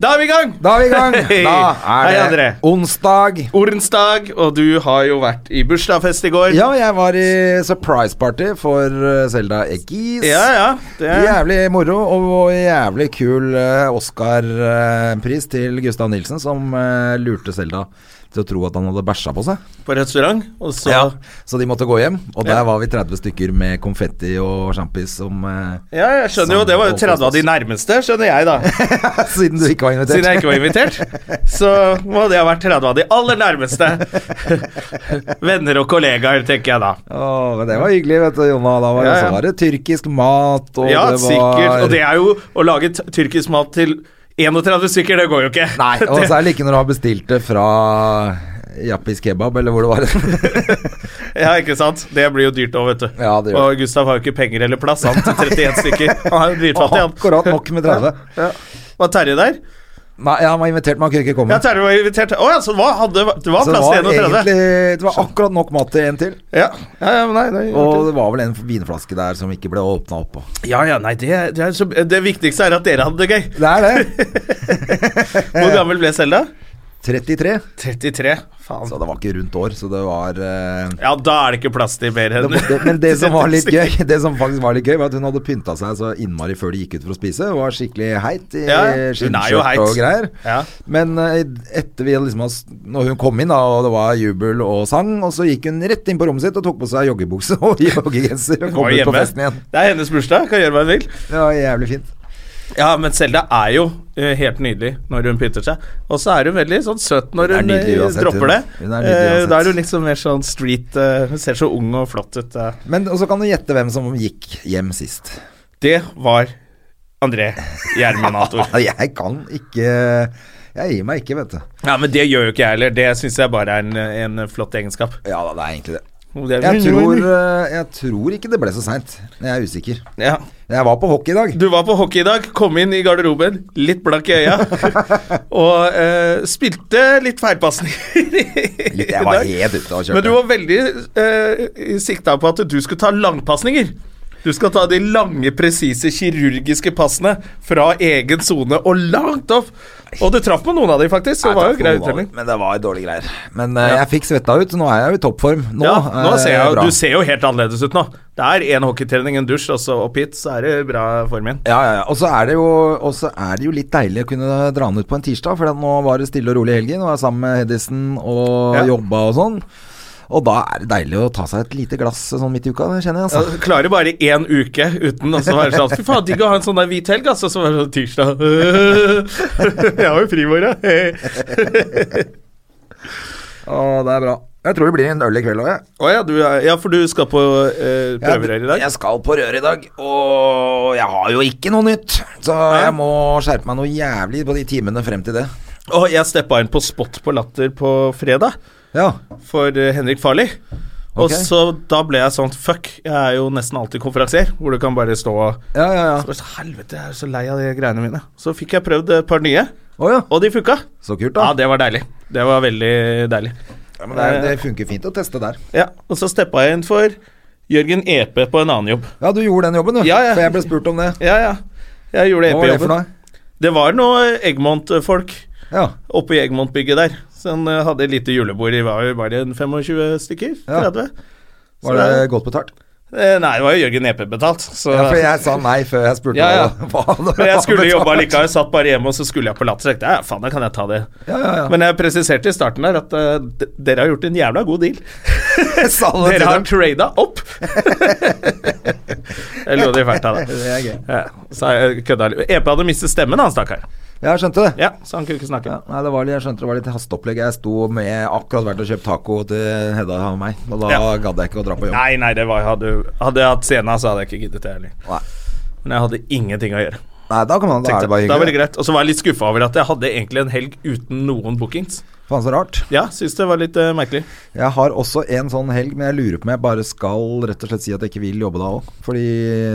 Da er vi i gang! Da er vi i gang. Da Hei, er det André. onsdag. Ordensdag, og du har jo vært i bursdagsfest i går. Ja, jeg var i surprise party for eh, Zelda Eggis. ja. ja det er. Jævlig moro og og jævlig kul eh, Oscar-pris til Gustav Nilsen, som eh, lurte Selda til å tro at han hadde bæsja på seg. På restaurant, og så Ja, ja. Så de måtte gå hjem, og der Ja. var vi 30 stykker med konfetti og sjampis som eh, jeg skjønner jo. Det var jo 30 av de nærmeste, skjønner jeg, da. Siden du ikke var invitert. Siden jeg ikke var invitert. Så må det ha vært 30 av de aller nærmeste. Venner og kollegaer, tenker jeg da. Åh, men det var hyggelig, vet du, Jonna. Da var, Ja, ja. Så var det tyrkisk mat, og ja, det var sikkert. Og det er jo å lage t- tyrkisk mat til 31 stykker, det går jo ikke. Nei, og særlig ikke når du har bestilt det fra Jappis kebab, eller hvor det var. Ja, ikke sant? Det blir jo dyrt òg, vet du. Ja, det gjør og Gustav har jo ikke penger eller plass, han, til 31 stykker. Han er jo dritfattig, han. Akkurat nok med 30. Var Terje der? Nei, ja, han var invitert, men han kunne ikke komme. Ja, Terje var invitert. Å ja, så det var, hadde, det var Mm. så det plass var, til 31? egentlig, det var akkurat nok mat til en til. Ja. Ja, ja, men nei, nei, Og det var vel en vinflaske der som ikke ble åpna opp. Og. ja, ja, nei det, det, er så, det viktigste er at dere hadde det gøy. Det er det. Hvor gammel ble Selda? 33. 33. Faen. Så det var ikke rundt år, så det var eh, Ja, da er det ikke plass til mer enn det, det, Men det som var litt gøy Det som faktisk var litt gøy, var at hun hadde pynta seg så innmari før de gikk ut for å spise. Hun var skikkelig heit i Ja, hun er jo heit. skinnskjørt og greier. Ja. Men eh, etter vi hadde liksom har s- Når hun kom inn, da, og det var jubel og sang, og så gikk hun rett inn på rommet sitt og tok på seg joggebukse og joggegenser og Hun kom var ut på hjemme. festen igjen. Det er hennes bursdag, kan gjøre hva hun vil. Det var jævlig fint. Ja, men Selda er jo eh, helt nydelig når hun pynter seg. Og så er hun veldig sånn søt når Hun er hun, nydelig eh, uansett, hun. dropper det. Hun er nydelig Eh, uansett. Da er hun liksom mer sånn street eh, Hun ser så ung og flott ut. eh. Men og så kan du gjette hvem som gikk hjem sist. Det var André Gjerminator. Ja, Jeg kan ikke Jeg gir meg ikke, vet du. ja, men det gjør jo ikke jeg heller. Det syns jeg bare er en, en flott egenskap. Ja da, det er egentlig det. Og det- Jeg tror, eh, jeg tror ikke det ble så seint. Jeg er usikker. ja. Jeg var på hockey i dag. Du var på hockey i dag, kom inn i garderoben, litt blank i øya, og eh, spilte litt feilpasninger. Litt- i Jeg var dag. helt ute og kjørte. Men du var veldig eh, sikta på at du skulle ta langpasninger. Du skal ta de lange, presise kirurgiske passene fra egen sone og langt opp. Og du traff på noen av de, faktisk. Nei, Så det var takk jo for grei noe, da. uttelling. Men det var dårlige greier. Men eh, jeg fikk svetta ut. Nå er jeg jo i toppform. Nå, Ja, nå eh, er det ser jeg, bra. du ser jo helt annerledes ut nå. Det er én hockeytrening, en dusj, og så opp hit, så er det bra form igjen. ja, ja, ja. Og så er, det jo- og så er det jo litt deilig å kunne dra den ut på en tirsdag, for at nå var det stille og rolig i helgen. Og jeg var sammen med Hedison og Ja. jobba og sånn. Og da er det deilig å ta seg et lite glass sånn midt i uka, det kjenner jeg. Ja, Altså. du klarer bare én uke uten å så være sånn Fy faen, digg å ha en sånn der hvit helg, altså. Så var det sånn tirsdag Jeg har jo fri i morgen. Å, det er bra. Jeg tror det blir en øl i kveld òg, jeg. Å ja, du er, ja, for du skal på eh, prøver her i dag? Jeg skal på røret i dag, og jeg har jo ikke noe nytt. Så jeg må skjerpe meg noe jævlig på de timene frem til det. Og jeg steppa inn på Spot på Latter på fredag Ja. for eh, Henrik Farli. Og Ok. så da ble jeg sånn Fuck, jeg er jo nesten alltid konferansier, hvor du kan bare stå og Ja, ja, Så bare, så, Helvete, jeg er så lei av de greiene mine. Så fikk jeg prøvd et par nye, Å ja. og de funka. Så kult, Ja, da. det var deilig. Det var veldig deilig. Ja, men det, er, det funker fint å teste der. Ja, Og så steppa jeg inn for Jørgen Epe på en annen jobb. Ja, du gjorde den jobben, du. Ja, ja. For jeg ble spurt om det. Ja, ja. Jeg gjorde Hva var det for EP-jobben. noe? Det var noe Eggmont-folk Ja. oppe i Eggmont-bygget der. Så han eh, hadde et lite julebord. Det var jo bare en 25 stykker. Ja. 30. Så Var det godt betalt? Eh, Nei, det var jo Jørgen Epe betalt. Så. Ja, for jeg sa nei før jeg spurte Ja, ja. hva hva det Men jeg skulle var jobbe betalt. likevel. Satt bare hjemme, og så skulle jeg på Latter. tenkte jeg, Ja, faen, da kan jeg ta det. Ja, ja, ja. Men jeg presiserte i starten der at eh, d- dere har gjort en jævla god deal. Jeg sa det til Dere har dem. trada opp! jeg lo de fælt av det. Det er gøy. Ja, så jeg kødda litt. Epe hadde mistet stemmen, han stakkar. Jeg skjønte det. Ja, så han kunne ikke snakke. Ja, nei, det var litt, jeg skjønte det var litt hasteopplegg. Jeg sto med jeg har akkurat vært og kjøpt taco til Hedda og meg, og da Ja. gadd jeg ikke å dra på jobb. Nei, nei, det var, hadde, hadde jeg hatt scena, så hadde jeg ikke giddet det heller. Nei. Men jeg hadde ingenting å gjøre. Nei, da kan man Da er det Tenkte bare jeg, Da var det hyggelig. greit. Og så var jeg litt skuffa over at jeg hadde egentlig en helg uten noen bookings. Faen så rart. Ja, syns det var litt eh, merkelig. Jeg har også en sånn helg, men jeg lurer på om jeg bare skal rett og slett si at jeg ikke vil jobbe da òg. Fordi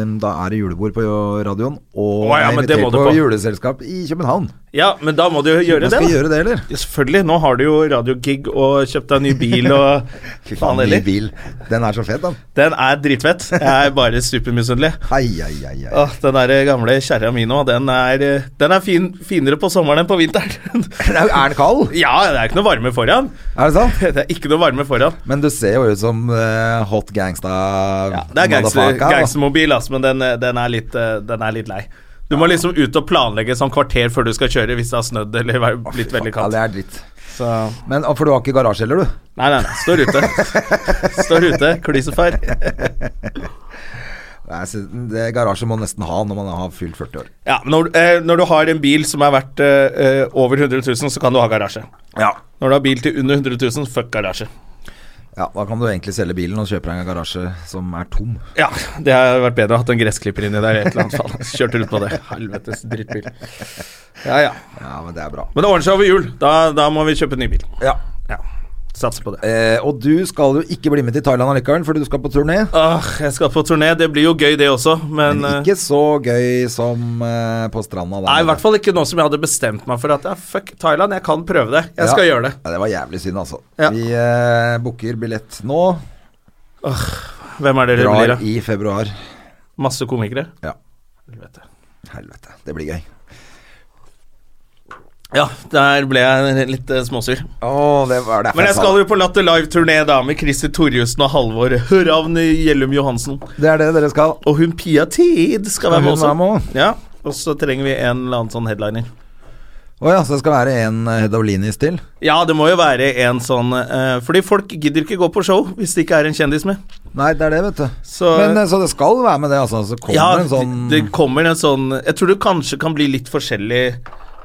mm, da er det julebord på radioen, og Å, ja, jeg men det må inviterer du på, på. juleselskap i København. Ja, men da må du jo Jeg gjøre det, skal da. gjøre det, eller? Ja, selvfølgelig. Nå har du jo radiogig og kjøpt deg ny bil og Fy faen faen, ny heller. bil. Den er så fet, da. Den er dritfett. Jeg er bare supermisunnelig. Ai, ai, ai, ai. Åh, den der gamle kjerra mi nå, den er, eh, den er fin, finere på sommeren enn på vinteren. Er den kald? ja, det er ikke noe varme foran. Er det sant? Det er ikke noe varme foran. Men du ser jo ut som eh, hot gangsta Det er gangster- motherfucker, altså. da. gangstermobil, ass, men den, eh, den, er litt, eh, den er litt lei. Du må liksom ut og planlegge sånn kvarter før du skal kjøre hvis det har snødd eller vært- blitt veldig Ja, kaldt. det er dritt. Så Men, og for du har ikke garasje heller, du? Nei, nei, nei. Står ute. Står ute, klysefar. Nei, så det garasje må nesten ha når man har fylt 40 år. Ja, men når, eh, når du har en bil som er verdt eh, eh, over 100 000, så kan du ha garasje. Ja. Når du har bil til under 100 000, fuck garasje. ja. Da kan du egentlig selge bilen og kjøpe deg en garasje som er tom. Ja, det har vært bedre å ha hatt en gressklipper inni der i et eller annet fall. Kjørt rundt på det. Helvetes drittbil. Ja, ja. Ja, men det er bra. Men det ordner seg over jul. Da, da må vi kjøpe en ny bil. Ja. Ja. Satser på det. Eh, og du skal jo ikke bli med til Thailand allikevel, fordi du skal på turné. Åh, jeg skal på turné. Det blir jo gøy, det også, men, Men eh, ikke så gøy som eh, på stranda der. Nei, i hvert fall ikke nå som jeg hadde bestemt meg for at ja, fuck Thailand, jeg kan prøve det. Jeg skal gjøre det. Ja, det var jævlig synd, altså. Ja. Vi eh, booker billett nå. Hvem er dere blir, Drar da? i februar. Masse komikere? Ja. Helvete. Helvete, det blir gøy. Ja, der ble jeg litt eh, småsur. Å, det var derfor Men jeg sa skal jo på Latter Live-turné da med Christer Torjussen og Halvor Ravn Gjellum Johansen. Det er det dere skal. Og hun Pia Tid skal være med hun være også. med også? Ja, og så trenger vi en eller annen sånn headliner. Å ja, så det skal være en eh, Hedavlinis til? Ja, det må jo være en sånn eh, Fordi folk gidder ikke gå på show hvis det ikke er en kjendis med. Nei, det er det, vet du. Så- Men eh, Så det skal være med det, altså? Så kommer Ja, en sånn det, det kommer en sånn Jeg tror det kanskje kan bli litt forskjellig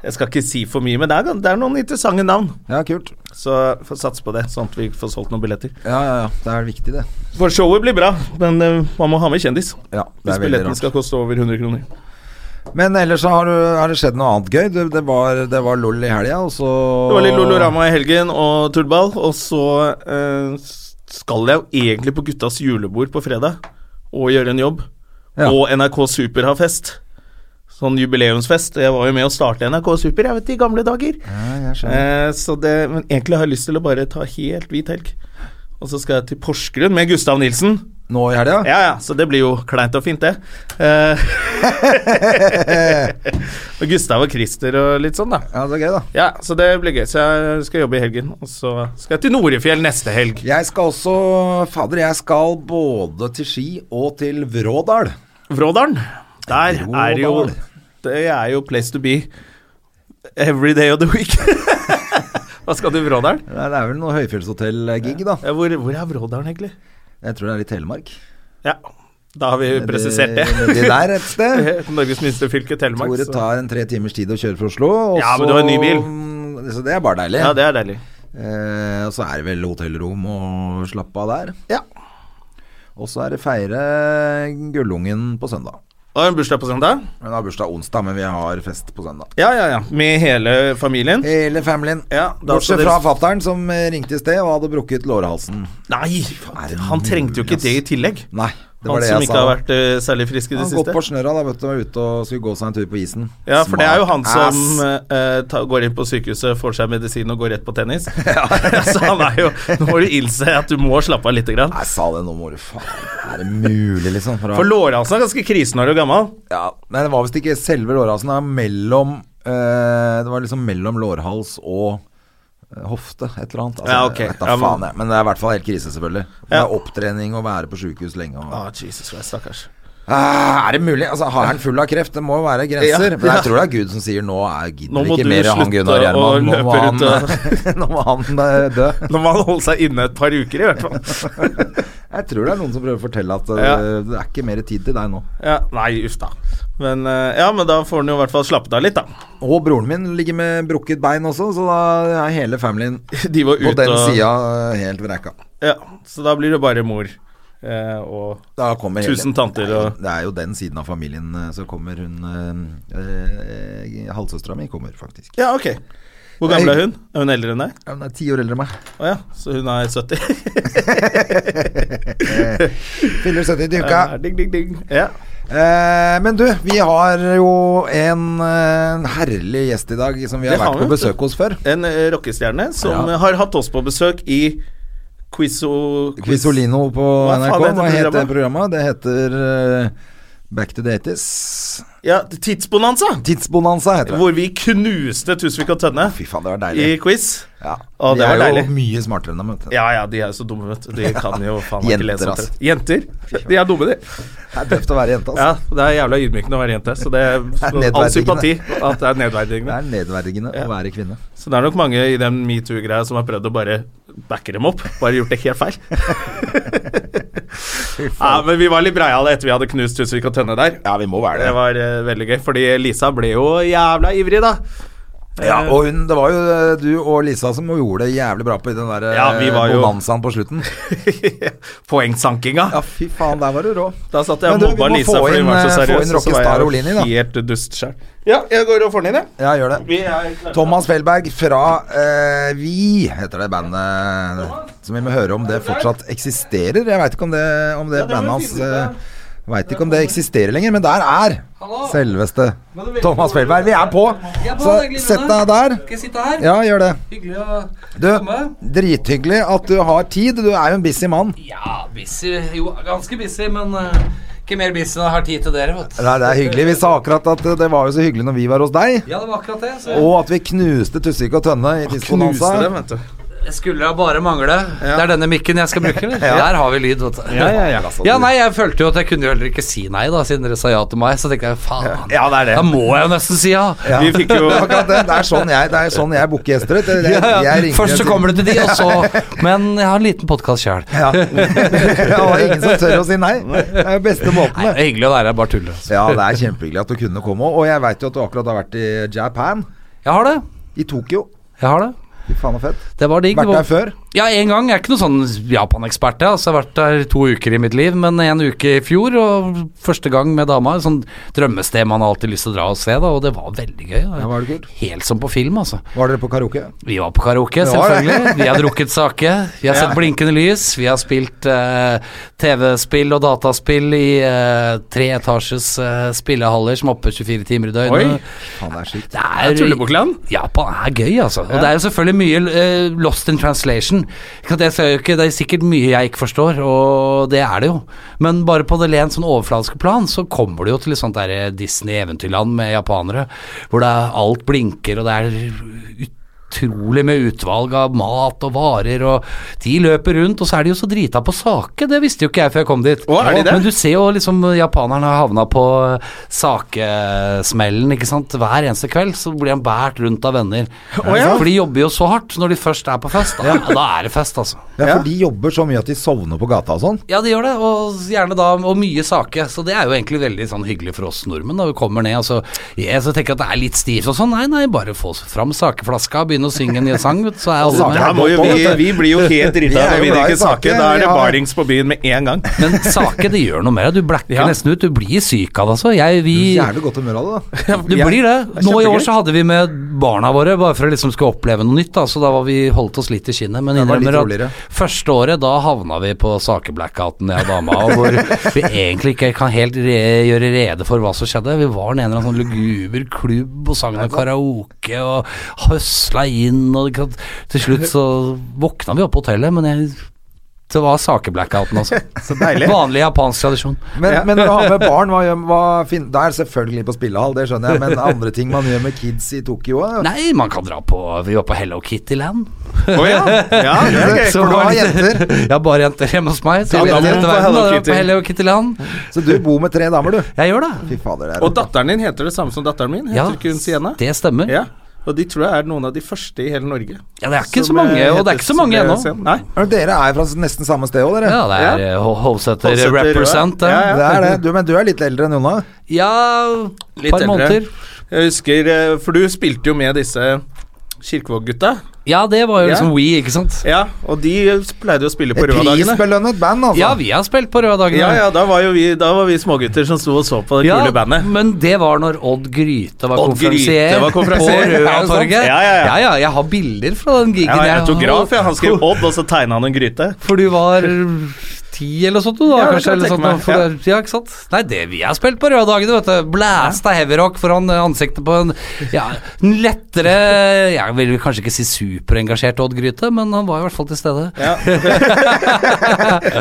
Jeg skal ikke si for mye, men det er, det er noen interessante navn. Ja, kult. Så får satse på det, sånn at vi får solgt noen billetter. Ja, ja, ja. Det er viktig, det. For showet blir bra, men eh, man må ha med kjendis. Ja, det Hvis er veldig billetten rart. skal koste over 100 kroner. Men ellers så har, du, har det skjedd noe annet gøy. Det, det, var, det var LOL i helga, og så Det var litt Lolorama i helgen og tullball, og så eh, skal jeg jo egentlig på guttas julebord på fredag og gjøre en jobb. Ja. Og NRK Super har fest. Sånn jubileumsfest. Jeg var jo med å starte NRK Super jeg vet, i gamle dager. Ja, jeg skjønner. Eh, så det, men egentlig har jeg lyst til å bare ta helt hvit helg. Og så skal jeg til Porsgrunn med Gustav Nilsen. Nå i helga? Ja, ja, så det blir jo kleint og fint, det. Eh, og Gustav og Christer og litt sånn, da. Ja, det er gøy, da. Ja, så det blir gøy. Så jeg skal jobbe i helgen. Og så skal jeg til Norefjell neste helg. Jeg skal også Fader, jeg skal både til Ski og til Vrådal. Vrådalen. Der er det jo Vrådal. Det er jo place to be every day of the week. Hva skal du i Vrådalen? Nei, Det er vel noe høyfjellshotell-gig, da. Ja, hvor, hvor er Vrådalen, egentlig? Jeg tror det er i Telemark. Ja, da har vi presisert det. Nedi der et sted. Norges minste fylke, Telemark. Hvor det så- tar en tre timers tid å kjøre fra Oslo. og Ja, men så- du har en ny bil. Så det er bare deilig. Ja, det er deilig. Eh, og så er det vel hotellrom og slappe av der. Ja. Og så er det feire Gullungen på søndag. Og en bursdag på søndag? Hun har bursdag onsdag, men vi har fest på søndag. Ja, ja, ja. Med hele familien? Hele familien. Ja, da skal Bortsett dere- fra fattern som eh, ringte i sted og hadde brukket lårhalsen. Nei, Er faen, det han trengte jo mulig, ikke ass? det i tillegg. Nei, det var Han det som jeg ikke sa. har vært eh, særlig frisk i det han har siste. gått på snørra da, vet du, var ute og skulle gå seg en tur på isen. Ja, for det er jo han Smart som ass. eh, ta, går inn på sykehuset, får seg medisin og går rett på tennis. så han er jo Nå må du innse at du må slappe av lite grann. Jeg sa det nå, må du faen. Er det mulig, liksom? For å- For lårhalsen er ganske krisen når du er gammel. Ja, men det var visst ikke selve lårhalsen. Det var mellom eh, Det var liksom mellom lårhals og eh, hofte, et eller annet. Altså, Ja, ok. jeg vet da Ja, men- faen, jeg. Men det er i hvert fall helt krise, selvfølgelig. Det Ja. er opptrening og være på sjukehus lenge. Og... Ah, Jesus Christ, stakkars. Ah, er det mulig? Altså, har han full av kreft? Det må jo være grenser. Ja, Men ja. jeg tror det er Gud som sier nå er Nå gidder må ikke du mer av han slutte Gunnar Gjerman. å Nå, må løpe han- nå må han eh, dø. Nå må han holde seg inne et par uker, i hvert fall. Jeg tror det er noen som prøver å fortelle at eh, Ja. det er ikke mer tid til deg nå. Ja, nei, uff da. Men, eh, ja, men da får han jo i hvert fall slappet av litt, da. Og broren min ligger med brukket bein også, så da er hele familien De var På ute den og sida eh, helt vreka. Ja, så da blir det bare mor. eh, og Da kommer hele- Tusen tanter og- Det er jo den siden av familien eh, som kommer hun eh, eh, Halvsøstera mi kommer, faktisk. Ja, ok. Hvor Nei. gammel er hun? Er hun eldre enn deg? Ja, Hun er ti år eldre enn meg. Å ja, så hun er 70. Eh, Fyller 70 til uka. Ja, ding, ding, ding. Ja. Eh, men du, vi har jo en, eh, en herlig gjest i dag som vi har Det har vært på vi, vet du. besøk hos før. En eh, rockestjerne som Ja. eh, har hatt oss på besøk i Quizo... Quisolino på Hva faen NRK. heter Hva heter programmet? det programmet? Det heter eh, Back to the 80s. Ja, Tidsbonanza! Tidsbonanza heter det. Hvor vi knuste Tusvik og Tønne Fy faen, det var i deilig. quiz. Ja. Å, De det var er deilig. jo mye smartere enn dem, vet du. Ja ja, de er jo så dumme, vet du. De kan jo faen meg ikke lese Jenter, opp ass. det. Jenter. De er dumme, de. Det er tøft å være jente, altså. Ja, det er jævla ydmykende å være jente, så det er Det er all sympati nedverdigende. at det er Det nedverdigende. er nedverdigende å være kvinne. Så det er nok mange i den metoo-greia som har prøvd å bare backe dem opp. Bare gjort det helt feil. ja, men vi var litt breiale etter vi hadde knust Tusvik og Tønne der. Ja, vi må være Det var eh, veldig gøy, fordi Lisa ble jo jævla ivrig, da. Eh, Ja, og hun, det var jo eh, du og Lisa som gjorde det jævlig bra på den der eh, Ja, vi var jo- bonanzaen på slutten. Poengsankinga. Ja, fy faen, der var du rå. Da satt jeg Men og du, mobba vi må Lisa få fordi hun inn, var så eh, få inn seriøs. og så var rockestar jeg Olini, da. Helt dust sjøl. Ja, jeg går og får den inn, jeg. Ja, gjør det. Vi er klare. Thomas Felberg fra eh, Vi, heter det bandet som vi må høre om det fortsatt eksisterer. Jeg veit ikke om det, om det Ja, bandet det må vi hans finne ut av. eh, Veit ikke om det eksisterer lenger, men der er selveste Thomas Felberg. Vi er på! Så sett deg der. Ja, gjør det. Hyggelig å Du, drithyggelig at du har tid. Du er jo en busy mann. Ja, busy. Jo, ganske busy, men eh, ikke mer busy enn jeg har tid til dere, vet du. Nei, det er hyggelig. Vi sa akkurat at eh, det var jo så hyggelig når vi var hos deg. Ja, det var akkurat det. Så Og at vi knuste Tussvik og Tønne i Knuste Tidsbonanza. dem, vet du. jeg skulle da bare mangle. Det er denne mikken jeg skal bruke, eller? Der har vi lyd, vet du. Ja, ja, ja. Ja, nei, jeg følte jo at jeg kunne jo heller ikke si nei, da, siden dere sa ja til meg. Så tenkte jeg faen, Ja, det er det. da må jeg jo nesten si ja. Vi fikk jo Akkurat det. Det er sånn jeg, det er sånn jeg booker gjester. vet du. Jeg, Ja, ja. jeg ringer Først så til- kommer det til de, og så Men jeg har en liten podkast sjøl. ja. ja, og det er ingen som tør å si nei. Det er jo beste måten. det. Hyggelig å være her, bare tuller. Altså. Ja, det er kjempehyggelig at du kunne komme òg. Og jeg veit jo at du akkurat har vært i Japan. Jeg har det. I Tokyo. Jeg har det. Fy faen så fett. Det var digg. Vært der før? Ja, en gang. Jeg er ikke noen sånn Japan-ekspert. Jeg. Altså, jeg har vært der to uker i mitt liv, men en uke i fjor, og første gang med dama. Et sånt drømmested man har alltid lyst til å dra og se, da, og det var veldig gøy. da. Ja, var det kult? Helt som på film, altså. Var dere på karaoke? Vi var på karaoke, Det var det. selvfølgelig. Vi har drukket sake. Vi har sett blinkende lys. Vi har spilt eh, TV-spill og dataspill i eh, treetasjes eh, spillehaller som er oppe 24 timer i døgnet. Oi. Faen, det er sykt. Det er Tullebukland. Japan er gøy, altså. Og det er jo selvfølgelig mye eh, lost in translation. Ikke sant, Jeg ser jo ikke, det er sikkert mye jeg ikke forstår, og det er det jo. Men bare på det rent sånn overfladiske plan, så kommer du jo til et sånt der eh, Disney-eventyrland med japanere, hvor det er alt blinker, og det er utrolig med utvalg av mat og varer, og de løper rundt, og så er de jo så drita på sake, det visste jo ikke jeg før jeg kom dit. Å, er de det? Men du ser jo liksom japanerne har havna på sakesmellen, ikke sant. Hver eneste kveld så blir han båret rundt av venner. ja. For de jobber jo så hardt når de først er på fest. Da, da er det fest, altså. Ja, for de jobber så mye at de sovner på gata og sånn. Ja, de gjør det, og gjerne da og mye sake. Så det er jo egentlig veldig sånn hyggelig for oss nordmenn. Da vi kommer ned og så, jeg, så tenker jeg at det er litt stivt og sånn. Nei, nei, bare få fram sakeflaska, begynne å synge en ny sang, vet du, så er alle sake med. Ja, må jo vi, vi blir jo helt drita Vi er når jo glad vi i drikker sake. sake, Da er det ja. barings på byen med en gang. Men sake, det gjør noe med deg. Du blacker Ja. nesten ut. Du blir syk av det, altså. Jeg, vi, Jævlig godt humør av det, da. Du Jeg- blir Det det. er Nå i år kjempegøy. så hadde vi med barna våre, bare for å liksom skulle oppleve noe nytt, da, så da var vi holdt oss litt i skinnet. Men Det var litt innrømmer at roligere. første året, da havna vi på sakeblackouten, jeg og dama, og hvor vi egentlig ikke kan helt re gjøre rede for hva som skjedde. Vi var i en eller annen sånn luguber klubb og sang noe karaoke og høsla inn, og ikke sant. til slutt så våkna vi opp på hotellet, men jeg det var sakeblackouten, altså. Så deilig. Vanlig japansk tradisjon. Men, men når du har med barn, hva gjør hva fin Det er selvfølgelig på spillehall, det skjønner jeg, men andre ting man gjør med kids i Tokyo òg? Nei, man kan dra på Vi var på Hello Kitty-land. Å ja. ja, det er gøy. Så du har jenter. Ja, bare jenter hjemme hos meg. Så Ja, jeg da må vet dette du på verden, Hello da. Kitty. På Hello Kitty Land. Så du bor med tre damer, du? Jeg gjør det. Fy fader, det er Og datteren din heter det samme som datteren min. Heter ikke hun Sienna? det stemmer. Ja. Ja. Og de tror jeg er noen av de første i hele Norge. det er ikke så som, mange, eh, og det er heter- ikke så mange som ble ennå. Sienna. Nei. Men Dere er fra nesten samme sted òg, dere. Ja, det er Ja. eh, Ho- Hovseter Hovseter, ja. represent. Ja, Ja, Det er det. Du, men du er litt eldre enn Jonna. ja. Litt par eldre. måneder. Jeg husker eh, For du spilte jo med disse Kirkevåg-gutta. Ja, det var Ja. jo liksom We, ikke sant? Ja, og de eh, pleide jo å spille på Et Rødadagene. prisbelønnet band, altså. Ja, vi har spilt på røde dager. Ja, ja, da var jo vi, da var vi smågutter som sto og så på det Ja, kule bandet. men det var når Odd Gryte var Odd konferansier Gryte var konferansier. Er på det sant? Røatorget. Ja, ja, ja. Jeg har bilder fra den Jeg gigen. har jeg- autograf, ja. Han skrev Odd, og så tegna han en gryte. For du var ti eller sånt, du Ja, da, det kan kanskje? jeg Eller tenke sånt, da, meg, for ja. det- ja, ikke sant? Nei, det vi har spilt på røde dagene, vet du. Blæsta heavyrock foran eh, ansiktet på en ja, en lettere Jeg vil kanskje ikke si superengasjert Odd Gryte, men han var i hvert fall til stede. Ja,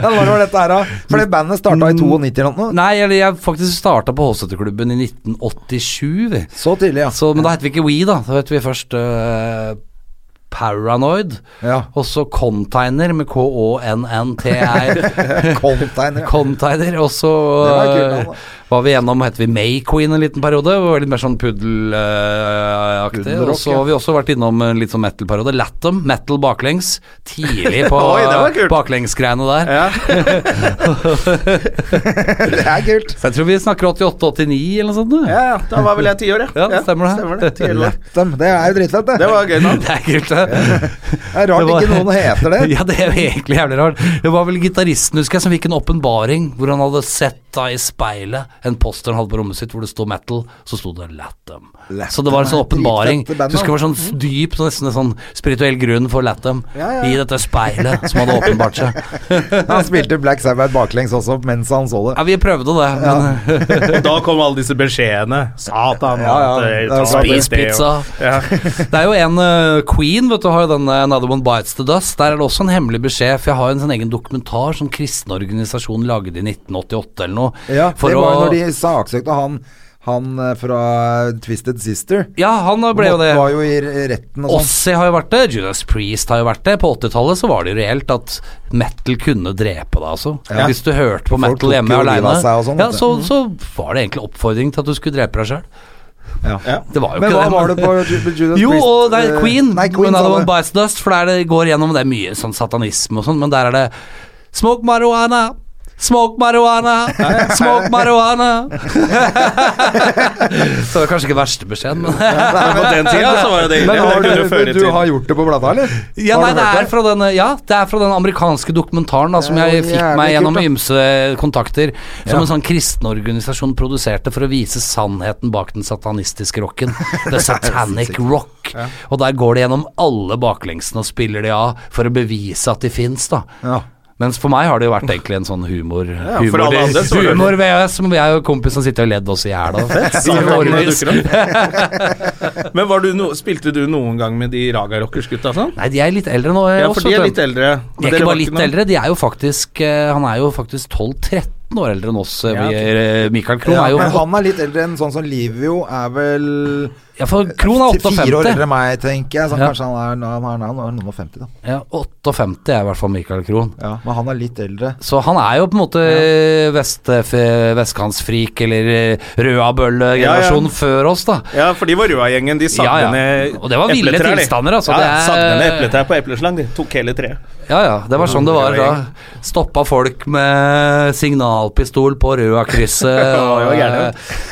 Når var dette her, da? For det bandet starta i 92 eller noe. Mm. Nei, eller jeg faktisk starta på Håseterklubben i 1987, vi. Så tidlig, ja. Så, men da heter vi ikke We, da. Da heter vi først eh, Paranoid. ja. Og så Container med K-O-N-N-T-R. Container. ja. Container. Og så Det var et kult altså. navn, da. eh, var vi gjennom het vi Mayqueen en liten periode. Vi var litt mer sånn puddelaktig. Puddelrock, og så ja. har vi også vært innom en litt sånn metal-periode. Latham, metal baklengs. Tidlig på Oi, det var kult. baklengsgreiene der. Ja. Det er kult. Så jeg tror vi snakker 88-89 eller noe sånt. du. ja, ja, da var vel jeg ti år, ja. Ja, det stemmer det. Stemmer det. 10 år. Dem, Det er jo dritfett, Det det. var gøy navn. Det er kult, det. Det er rart det var- ikke noen heter det. Ja, det er jo egentlig jævlig rart. Det var vel gitaristen, husker jeg, som fikk en åpenbaring hvor han hadde sett da i speilet en poster han hadde på rommet sitt hvor det sto metal, så sto det Latham. Latham Så det var en sånn er et åpenbaring. dritfette band, Du skal være sånn dyp, så nesten en sånn spirituell grunn for Latham Ja, ja, ja. i dette speilet som hadde åpenbart seg. Han spilte Black Sabbath baklengs også mens han så det. Ja, vi prøvde det, men Og da kom alle disse beskjedene. Satan. Ja, ja. at, eh, Det er ta det, spis det, pizza. og- Ja. Det er jo en eh, Queen, vet du, har jo denne Another One Bites The Dust. Der er det også en hemmelig beskjed, for jeg har jo en sånn egen dokumentar som kristen organisasjon lagde i 1988 eller noe. Ja, for det var jo å- når de saksøkte han, han eh, fra Twisted Sister. Ja, han ble jo det. Var jo i retten og sånn. Ossie har jo vært det, Judas Priest har jo vært det. På 80-tallet så var det jo reelt at metal kunne drepe deg, altså. Ja. Hvis du hørte på Folk tok metal hjemme jo livet aleine, av seg og sånn, ja, vet du. så, så var det egentlig oppfordring til at du skulle drepe deg sjøl. Ja. Det var jo Men ikke hva det. var det på Ju- Judas jo, Priest? og det er eh, Queen. Nei, Queen men det sa var det. Bites Dust, for det, er det går gjennom Det er mye sånn satanisme og sånn, men der er det Smoke marijuana. Smoke marijuana, smoke marijuana. så det var kanskje ikke verste beskjeden, men Men På den tida så var jo det ille. Men det har kunne jo føre du, du til- har gjort det på plata, eller? Ja, Har nei, du det hørt er fra den, ja, det er fra den amerikanske dokumentaren da, som Det er jeg jo fikk jævlig meg gjennom kult, da. ymse eh, kontakter. Som en sånn kristen organisasjon produserte for å vise sannheten bak den satanistiske rocken. The Satanic Rock. Og der går de gjennom alle baklengsene og spiller de av for å bevise at de fins, da. Ja. Mens for meg har det jo vært egentlig en sånn humor ja, for alle andre så var det- Humor-VHS, som jeg og kompisen sitter og ledd oss i hjel av. Satan, I når det årevis. dukker opp. Men var du no, spilte du noen gang med de Raga Rockers-gutta sånn? Nei, de er litt eldre nå. eh, Ja, for også, de er vet litt du. eldre. Men De er dere ikke var bare litt noe- eldre, de er jo faktisk eh, Han er jo faktisk 12-13 år eldre enn oss. eh, Ja, vi, eh, Michael Krohn Ja, er jo men han er litt eldre enn sånn som Livio er vel ja, for Krohn er fire år eldre 58. enn meg, tenker jeg. Så Ja. kanskje han er, han er, han er noen og femti, da. Ja, 58 er i hvert fall Michael Krohn. Ja, men han er litt eldre. Så han er jo på en måte eh, vest, f- vestkantsfrik eller eh, Ja, ja. rødabølle-generasjonen før oss, da. Ja, for de var Røa-gjengen. De sagde Ja, ja. ned Og det var ville epletrær, de. tilstander, altså, Ja, det er- Sagde ned epletrær på epleslang. De tok hele treet. Ja ja, det var sånn det var da. Røa-gjeng. Stoppa folk med signalpistol på Røa-krysset. det var og, gærent.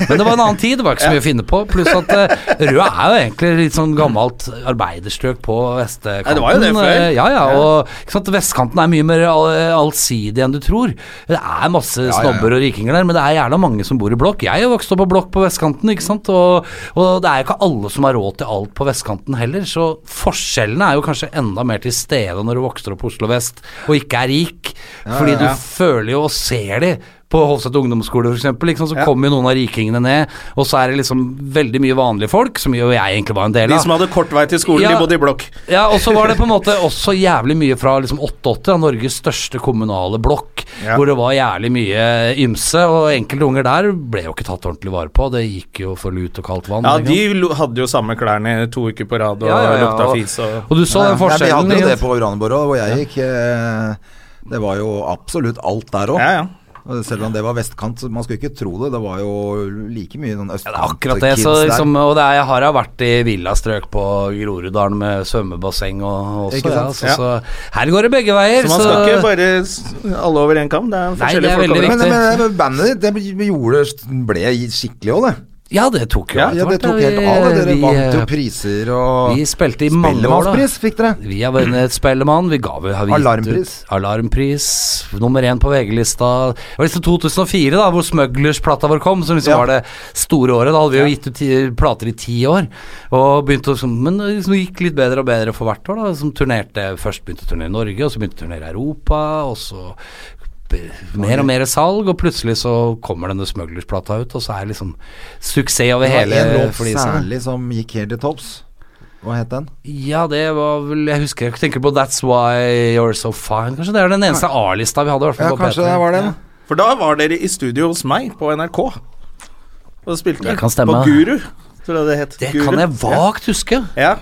eh, Men det var en annen tid, det var ikke så mye å finne på. Pluss at eh, Røa er jo egentlig litt sånn gammelt arbeiderstrøk på vestkanten. Nei, det var jo det før. Eh, Ja ja, og ikke sant, vestkanten er mye mer all- allsidig enn du tror. Det er masse snobber og rikinger der, men det er gjerne mange som bor i blokk. Jeg er jo vokst opp på blokk på vestkanten, ikke sant. Og, og det er jo ikke alle som har råd til alt på vestkanten heller, så forskjellene er jo kanskje enda mer til stede når du vokser opp på Oslo vest og ikke er rik, fordi ja, ja. du føler jo og ser de. På Hovset ungdomsskole, f.eks., liksom, så kommer jo noen av rikingene ned, og så er det liksom veldig mye vanlige folk, som jo jeg egentlig var en del av. De som hadde kort vei til skolen, Ja. de bodde i blokk. Ja, og så var det på en måte også jævlig mye fra liksom 88, da, Norges største kommunale blokk, hvor det var jævlig mye ymse, og enkelte unger der ble jo ikke tatt ordentlig vare på. Det gikk jo for lut og kaldt vann. Ja, ikke de sant? lo- hadde jo samme klærne to uker på rad og Ja, ja, ja, lukta og- fis og Og du så Nei, den vi forskjellen. hadde jo ikke det sant? på Uranienborg òg, hvor jeg gikk. eh, Det var jo absolutt alt der òg. Ja, ja. Selv om det var vestkant, så man skulle ikke tro det. Det var jo like mye noen Ja, det er akkurat det. Så, der. liksom, og det er, jeg har jo vært i villastrøk på Groruddalen med svømmebasseng og og også, Ikke ja, sant? så, så her går det begge veier. Så man skal ikke bare s- alle over én kam. Det er det forskjellige er folk veldig over men, riktig. men, men bandet ditt det gjorde, ble skikkelig òg, det. Ja, det tok jo Ja, etter Ja, det hvert, tok vi- helt av. det. Dere vi, vant jo eh, priser og Vi spilte i mange år, da. Spellemannspris fikk dere. Vi har vunnet Spellemann. Vi ga vel har vi gitt Alarmpris. Ut, alarmpris. Nummer én på VG-lista. Det var liksom 2004, da, hvor Smugglers-plata vår kom, som liksom Ja. var det store året. Da hadde vi jo gitt ut ti- plater i ti år, og begynte å liksom, men det liksom gikk litt bedre og bedre for hvert år. da, som turnerte, Først begynte å turnere i Norge, og så begynte å turnere i Europa, og så b- mer og mer salg, og plutselig så kommer denne Smugglers-plata ut, og så er det liksom suksess over Det var hele en låt flisa. særlig som gikk helt til topps. Hva het den? Ja, det var vel Jeg husker jeg tenker på That's Why You're So Fine. Kanskje det er den eneste A-lista vi hadde. i hvert fall Ja, på kanskje P3. det var den. For da var dere i studio hos meg på NRK. Og da spilte Det dere kan stemme. på Guru, tror jeg det het. Det Guru. kan jeg vagt huske. Ja. ja.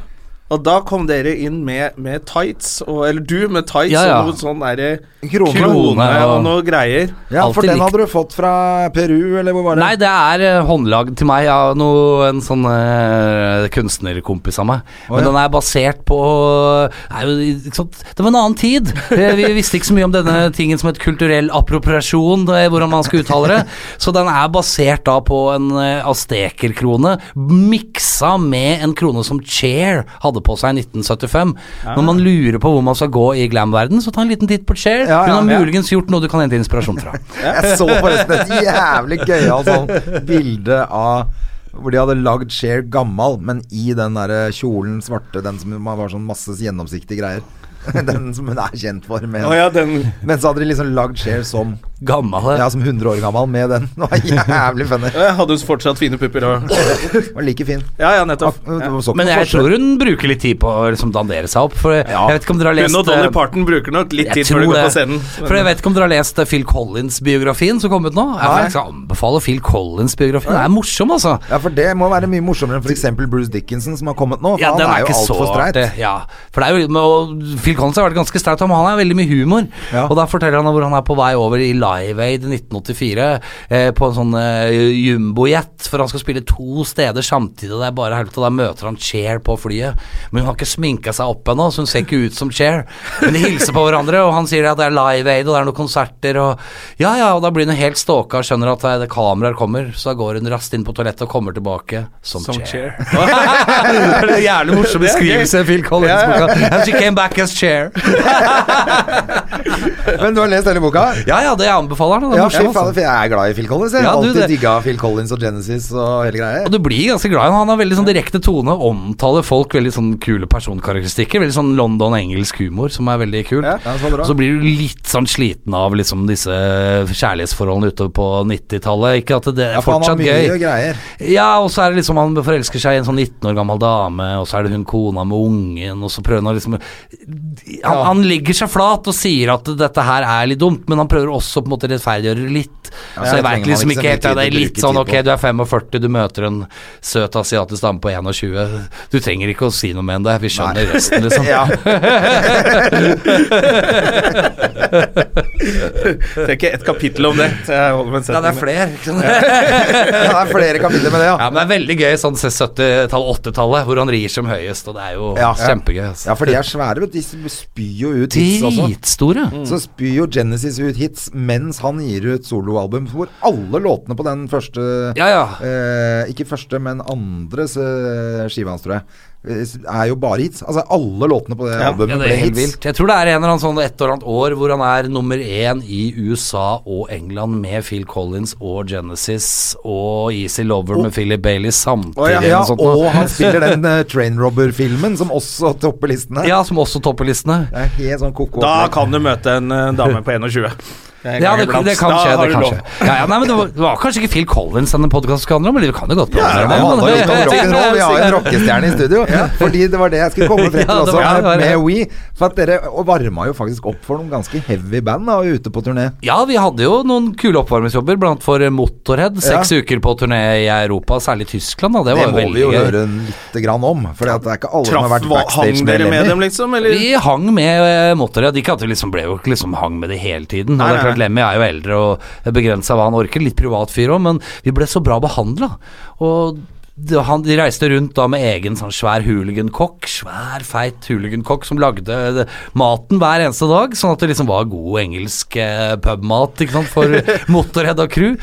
Og da kom dere inn med, med tights, og, eller du med tights Ja, ja. og noe sånn derre Krone. krone og og- noe greier. Ja, for Alltid den likt. hadde du fått fra Peru, eller hvor var det? Nei, det er eh, håndlagd til meg av noe, en sånn eh, kunstnerkompis av meg. Å, Men ja. den er basert på eh, er jo, ikke sant? Det var en annen tid. Eh, Vi visste ikke så mye om denne tingen som het kulturell appropriasjon, eh, hvordan man skal uttale det. Så den er basert da på en eh, aztekerkrone, miksa med en krone som Cher hadde på seg i 1975. Når man lurer på hvor man skal gå i glam-verden, så ta en liten titt på Cher. Ja, ja, Hun ja. har muligens gjort noe du kan hente inspirasjon fra. Jeg så forresten et jævlig gøyalt sånn bilde av hvor de hadde lagd Cher gammal, men i den der eh, kjolen svarte, den som man var sånn masse gjennomsiktige greier. Den som hun er kjent for. Med. Å ja, den Men så hadde de liksom lagd Cher som Gammel. eh. Ja, som 100 år gammel med den. Det var jævlig funny. Jeg hadde jo fortsatt fine pupper og Var like fin. Ja, ja, nettopp. Ak- det var så ikke Men noe jeg forskjell. tror hun bruker litt tid på å liksom dandere seg opp. For jeg vet ikke om dere har lest Hun og Dolly eh, Parton bruker nok litt jeg tid før de tror går det. på scenen. For jeg vet ikke om dere har lest eh, Phil Collins-biografien som kom ut nå? Jeg Nei. får faktisk anbefale Phil Collins-biografien. Den er morsom, altså. Ja, for det må være mye morsommere enn f.eks. Bruce Dickinson, som har kommet nå. For Ja, han den er, er jo ikke så altfor streit. artig. Ja, for det er jo, men, og Phil Collins har vært ganske streit, men han har veldig mye humor. Ja. Og da forteller han om hvor han er på vei over i Live Aid i 1984 eh, på en sånn eh, jumbojet, for han skal spille to steder samtidig, og det er bare helvete. og Da møter han Cher på flyet, men hun har ikke sminka seg opp ennå, så hun ser ikke ut som Cher. Men de hilser på hverandre, og han sier at det er Live Aid, og det er noen konserter, og ja ja, og da blir hun helt stalka og skjønner at eh, det kameraer kommer, så da går hun raskt inn på toalettet og kommer tilbake som, Som Cher. Cher. Det er en jævlig morsom Det er beskrivelse av Phil Collins-boka. And she came back as chair. Men du har lest hele boka? Ja ja, det anbefaler han. Det er Ja, fy morsomt. fader, altså. for jeg er glad i Phil Collins. Jeg Ja, har du, alltid det- digga Phil Collins og Genesis og hele greia. Og du blir ganske glad i han. Han har veldig sånn direkte tone, omtaler folk, veldig sånn kule personkarakteristikker. Veldig sånn London-engelsk humor, som er veldig kult. Ja, ja, så bra. Og så blir du litt sånn sliten av liksom disse kjærlighetsforholdene ute på 90-tallet. Ikke at det er Ja, for han har fortsatt mye gøy. greier. Ja, og så er det liksom han forelsker seg i en sånn 19 år gammel dame, og så er det hun kona med ungen, og så prøver han å liksom han, han legger seg flat og sier at dette her er litt dumt, men han prøver også på en måte rettferdiggjøre det litt. det så jeg trenger veit man liksom ikke så ikke helt mye ja, tid Det er å litt bruke sånn tid ok, på. du er 45, du møter en søt asiatisk dame på 21, du trenger ikke å si noe med henne, vi skjønner resten, liksom. Ja. Trenger ett kapittel om det. så jeg holder med en Ja, det er setning. flere. ikke sant? Ja, det er flere kapitler med det, ja. Ja, men det er veldig gøy sånn 70-tallet, 80-tallet, hvor han rir som høyest, og det er jo Ja. kjempegøy. Altså. Ja, for de er svære, vet du. De spyr jo ut hits også. Mm. Dritstore. Så spyr jo Genesis ut hits mens han gir ut soloalbum hvor alle låtene på den første Ja, ja. eh, Ikke første, men andres eh, skive hans, tror jeg, eh, er jo bare hits. Altså alle låtene på det Ja, albumet Ja, det er ble hits. helt vilt. Jeg tror det er en eller annen sånn et eller annet år hvor han er nummer én i USA og England med Phil Collins og Genesis og Easy Lover med Philip Bailey samtidig. Å, ja, eller Ja, noe sånt og noe. han spiller den eh, Train Robber-filmen som også topper listen her. ja, som også topper listene. Det er helt sånn ko-ko. Da opplegg. kan du møte en eh, dame på 21. En Ja, gang det, iblant. det kan Da skje. har du Det kan lov. skje. Ja, ja, nei, men det var, det var kanskje ikke Phil Collins denne podkasten skal handle om, men vi kan jo godt prate Ja, om det handler litt om rock'n'roll. Vi har jo en det. rockestjerne i studio. Fordi det var det jeg skulle komme frem Ja, til det også, var det, med, det var det. med We. For at dere og varma jo faktisk opp for noen ganske heavy band da, ute på turné. Ja, vi hadde jo noen kule oppvarmingsjobber, blant for Motorhead. Seks Ja. uker på turné i Europa, særlig Tyskland, da. Det Det, var jo må vi veldig jo gøy. høre lite grann om. For det er ikke alle som har Traff vært hva- backstage Hang med dere med dem, Lemmy. liksom? Eller? Vi hang med eh, Motorhead. Ikke at vi liksom ble jo ikke liksom hang med det hele tiden. Og Nei, det er nei, klart Lemmy er jo eldre og begrensa hva han orker. Litt privat fyr òg, men vi ble så bra behandla. Og det- han, de reiste rundt da med egen sånn svær hooligan-kokk, svær feit hooligan-kokk som lagde eh, maten hver eneste dag, sånn at det liksom var god engelsk eh, pubmat ikke sant, for Motorhead og crew.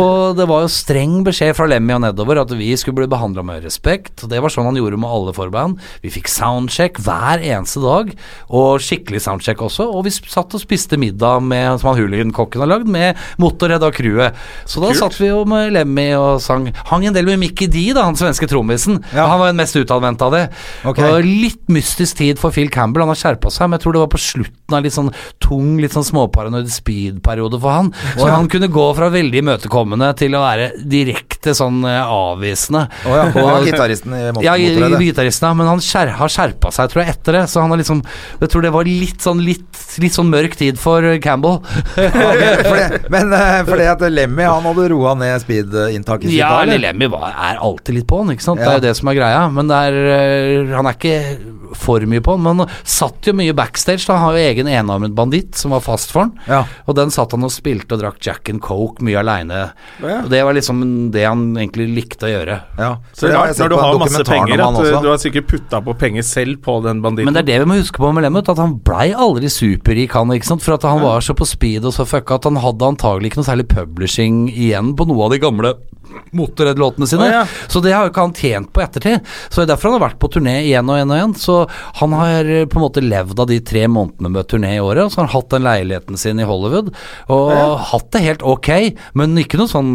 Og det var jo streng beskjed fra Lemmy og nedover at vi skulle bli behandla med respekt, og det var sånn han gjorde med alle forband. Vi fikk soundcheck hver eneste dag, og skikkelig soundcheck også, og vi sp- satt og spiste middag med, som han hooligan-kokken har lagd, med Motorhead og crewet. Så da satt vi jo med Lemmy og sang Hang en del med Mickey D, da, han svenske trommisen. Ja. Han var den mest utadvendte av det. Ok. Og litt mystisk tid for Phil Campbell, han har skjerpa seg, men jeg tror det var på slutten av litt sånn tung, litt sånn småparanoid speed-periode for han. Så han kunne gå fra veldig imøtekommende til å være direkte sånn eh, avvisende. Å ja, han var Og- gitaristen i Mot- ja, i- Motorhead. i- ja. gitaristen, ja, men han skjer, har skjerpa seg, tror jeg, etter det. Så han har liksom Jeg tror det var litt sånn, litt, litt sånn mørk tid for eh, Campbell. For det- Men eh, fordi at Lemmy han hadde roa ned speed-inntaket sitt Ja, da, eller eller? Lemmy var- er alltid litt på han, ikke sant. Det Ja. er jo det som er greia. Men det er, eh, han er ikke for mye på han. Men han satt jo mye backstage. Da. Han har jo egen enarmet banditt som var fast for han. Ja. Og den satt han og spilte og drakk Jack and Coke mye aleine. Det var liksom det han egentlig likte å gjøre. Ja, Så det har jeg rart sett når du på en har masse dokumentar om penger, han at eh, også. du har sikkert putta på penger selv på den banditten. Men det er det vi må huske på med Lemmut, at han blei aldri superrik, han, ikke sant. For at han var så på speed og så fucka at han hadde antagelig ikke noe særlig publishing igjen på noe av de gamle Motorhead-låtene sine. Å, ja. Så det har jo ikke han tjent på ettertid. Så det er derfor han har vært på turné igjen og igjen og igjen. Så han har eh, på en måte levd av de tre månedene med turné i året, og så har han hatt den leiligheten sin i Hollywood, og hatt det helt ok, men ikke noe sånn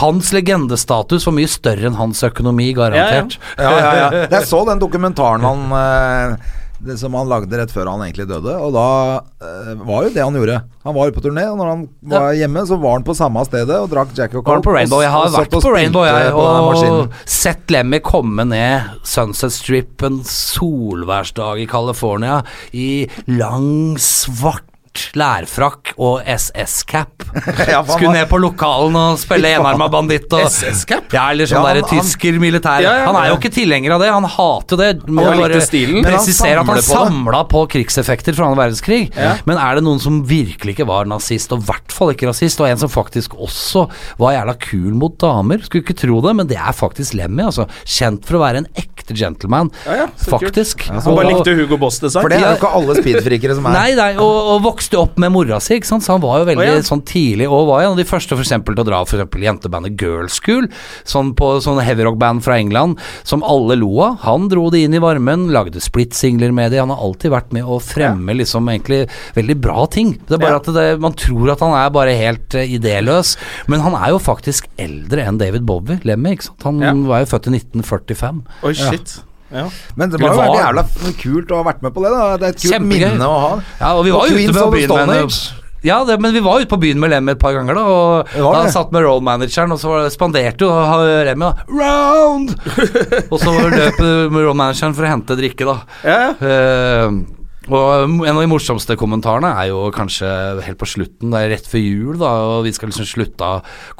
Hans legendestatus var mye større enn hans økonomi, garantert. Ja, ja, ja. Jeg så den dokumentaren han eh, det som han lagde rett før han egentlig døde, og da eh, var jo det han gjorde. Han var jo på turné, og når han var hjemme, så var han på samme stedet og drakk Jack og Var Coke. du på Rainbow? Jeg og har s- og vært satt og på Rainbow, spilte jeg. på den Og maskinen. sett Lemmy komme ned Sunset Strip en solværsdag i California i lang, svart Lærfrakk og SS-cap. Ja, for han Skulle var- ned på lokalen og spille enarma banditt. Og, SS-cap? Ja, eller sånn Ja, derre han- han- tysker militær. Ja, ja, han er ja. jo ikke tilhenger av det, han hater det. Må Han bare likte stilen. Men han Presisere at han samler på det. samla på krigseffekter fra annen verdenskrig. Men er det noen som virkelig ikke var nazist, og i hvert fall ikke rasist, og en som faktisk også var jævla kul mot damer, skulle ikke tro det, men det er faktisk Lemmy, altså. Kjent for å være en ekte gentleman, Ja, ja, så kult. faktisk. Han bare Og- likte Hugo Boss-design. For det er jo ikke alle speedfrikere som er Nei, nei og, og vokste opp med mora si, ikke sant? så han var jo veldig Å, ja. sånn tidlig og var en av de første for eksempel, til å dra for eksempel, jentebandet Girls School, sånn på sånn heavyrock-band fra England som alle lo av. Han dro det inn i varmen, lagde splitsingler med det. Han har alltid vært med å fremme liksom egentlig veldig bra ting. Det er bare Ja. at det, man tror at han er bare helt eh, idéløs, men han er jo faktisk eldre enn David Bowie, Lemmy, ikke sant. Han Ja. var jo født i 1945. Oi, shit. Ja. Men det må jo Eller være var. jævla f- kult å ha vært med på det, da. Det er et kult Kjempegøy. minne å ha. Ja, og vi var Og jo ute Queens på of the byen Stone med henne. Age. Ja, det, men vi var ute på byen med Lemmy et par ganger, da. Og Det var da det. satt med rollmanageren, og så var- spanderte jo ha- Lemmy da Round! og så løp eh, med rollmanageren for å hente drikke, da. Ja, ja. Eh, og en av de morsomste kommentarene er jo kanskje helt på slutten, det er rett før jul, da, og vi skal liksom slutte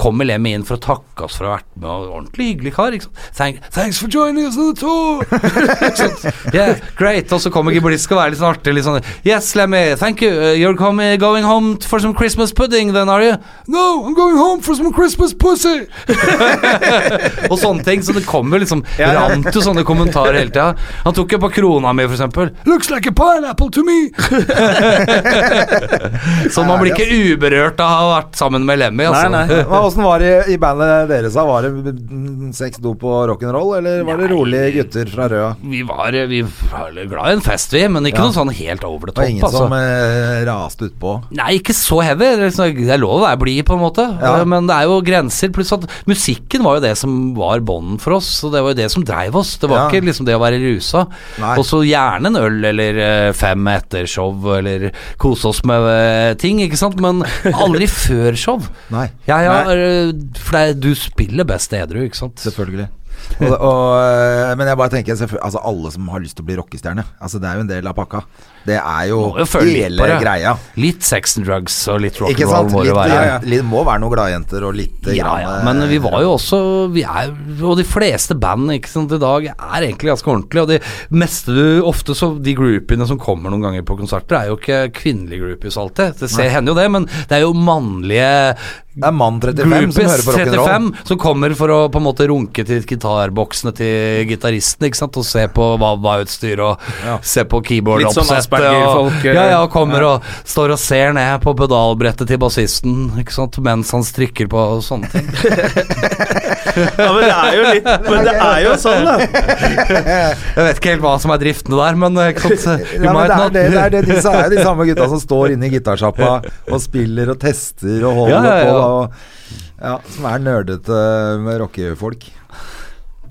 Kommer Lemmy inn for å takke oss for å ha vært med, og ordentlig hyggelig kar, ikke sant. Thank, thanks for joining us on the tour! Ikke sant? yeah, great. Og så kommer Gibolist og er litt sånn artig, litt sånn Yes, Lemmy, thank you. Uh, You're coming, going home for some Christmas pudding, then are you? No, I'm going home for some Christmas pussy! og sånne ting. Så det kommer jo liksom Rant jo sånne kommentarer hele tida. Han tok jo på krona mi, for eksempel. Looks like a pineapple to me! så man blir ikke uberørt av å ha vært sammen med Lemmy, altså. Nei, Men Åssen var det i- i bandet deres? da? Var det mm, sex, dop og rock'n'roll, eller var det rolige gutter fra Røa? Vi var, vi var glad i en fest, vi, men ikke noe sånn helt over det Det var topp. ingen altså. som eh, raste utpå. Nei, ikke så heavy. Det er liksom- det er lov å være blid, på en måte. Ja. Eh, Men det er jo grenser. Pluss at musikken var jo det som var bånden for oss. Og det var jo det som dreiv oss. Det var Ja. ikke liksom det å være rusa. Nei. Og så gjerne en øl eller eh, fem etter show, eller kose oss med eh, ting, ikke sant. Men aldri før show. Nei. Ja, ja, eh, for det er, du spiller best edru, ikke sant. Selvfølgelig. Og, og, øh, men jeg bare tenker selvfølgelig- altså alle som har lyst til å bli rockestjerne. Altså Det er jo en del av pakka. Det er jo Må jo føle litt hele på det. greia. Litt sex and drugs og litt Ikke sant? rock'n'roll må Litt, det være. ja, litt, må være noen gladjenter og litt Ja, grann, ja, eh, men vi var jo også vi er, Og de fleste band ikke sant, i dag er egentlig ganske ordentlige. Og de meste du ofte så De groupiene som kommer noen ganger på konserter, er jo ikke kvinnelige groupies alltid. Det ser, hender jo det, men det er jo mannlige Det er mann 35 som hører Groupies på rock'n'roll. 35 som kommer for å på en måte runke til gitarboksene til gitaristen ikke sant? og se på wah-wah-utstyr og se på Litt sånn keyboard-oppsettet. Asperger-folk, og, eh, ja, ja, og kommer og står og ser ned på pedalbrettet til bassisten ikke sant? mens han strikker på og sånne ting. Ja, men det er jo litt Men det er jo sånn, da. Jeg vet ikke helt hva som er driftene der, men eh, ikke sant? Nei, men det, er det, det, er det, disse er jo de samme gutta som står inne i gitarsjappa og spiller og tester og holder Ja, ja, ja. på. Og, ja, som er nerdete med rockefolk.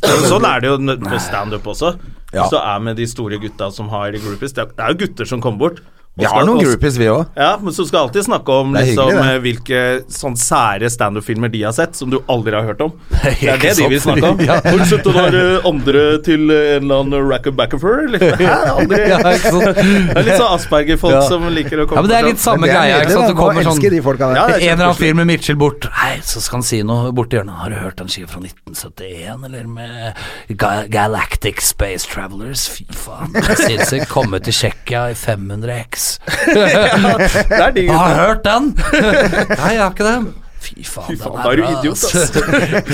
Sånn er det jo n- på standup også. Ja. Så er med de store gutta som har groupies. Det er- det er jo gutter som kommer bort. og Vi skal- har noen og- groupies, vi òg. Ja, men så skal jeg alltid snakke om Det er liksom, hyggelig, det. eh, hvilke sånn sære standup-filmer de har sett, som du aldri har hørt om. Det er det de sant. vil snakke om. Ja. Har du sett den der, eh, andre til eh, en eller annen Rackabackerfer? Liksom. Hæ, aldri. Ja, ikke sant? Det er litt sånn Asperger-folk Ja. som liker å Ja, komme men det er litt fram. samme greia. Ikke sant? Det Må kommer sånn elske de folka der. Ja, en det er eller annen kjempekoselig. fyr med Mitchell bort Hei, så skal han si noe borti hjørnet. Har du hørt den skiva fra 1971, eller med Ga Galactic Space Travelers? Fy faen. Sinnssykt. Komme til Tsjekkia i 500 X. sånn. Det er de Har du hørt den? Nei, jeg har ikke det. Fy faen, Fy faen, den da er du bra, idiot, ass.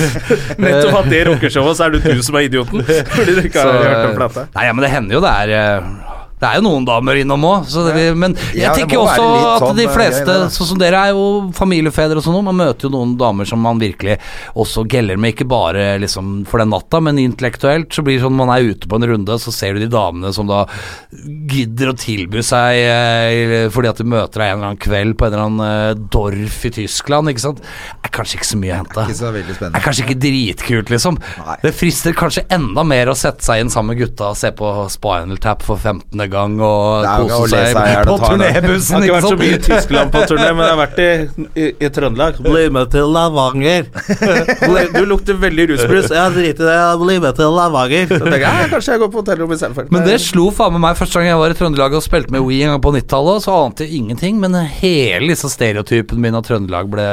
ass. Nettopp at det rockeshowet, så er det du som er idioten. Fordi du ikke har hørt om plata. Nei, ja, men det hender jo det er eh, det er jo noen damer innom òg, men jeg Ja, det tenker må også være litt at sånn, de eh, fleste, greier, da. sånn som dere, er jo familiefedre og sånn, og man møter jo noen damer som man virkelig også geller med, ikke bare liksom for den natta, men intellektuelt. Så blir det sånn man er ute på en runde, så ser du de damene som da gidder å tilby seg eh, fordi at de møter deg en eller annen kveld på en eller annen eh, dorf i Tyskland, ikke sant. Er kanskje ikke så mye å hente. Ikke så veldig Det er spennende. kanskje ikke dritkult, liksom. Nei. Det frister kanskje enda mer å sette seg inn sammen med gutta og se på Spinal Tap for 15. gang og Det er jo kose ikke å lese seg her, det på tar en- Jeg turnébussen, har ikke ikke sånn- vært så mye i sant? Tyskland på turné, men jeg har vært i, i, i Trøndelag. Bli med til Lavanger. Bli- Du lukter veldig rusbrus. Jeg driter i det. Bli med til Lavanger. Så tenker jeg, «Ja, Kanskje jeg går på hotellrommet istedenfor. Men det slo faen meg meg første gang jeg var i Trøndelag og spilte med We en gang på 90-tallet, så ante jeg ingenting, men hele liksom stereotypen min av Trøndelag ble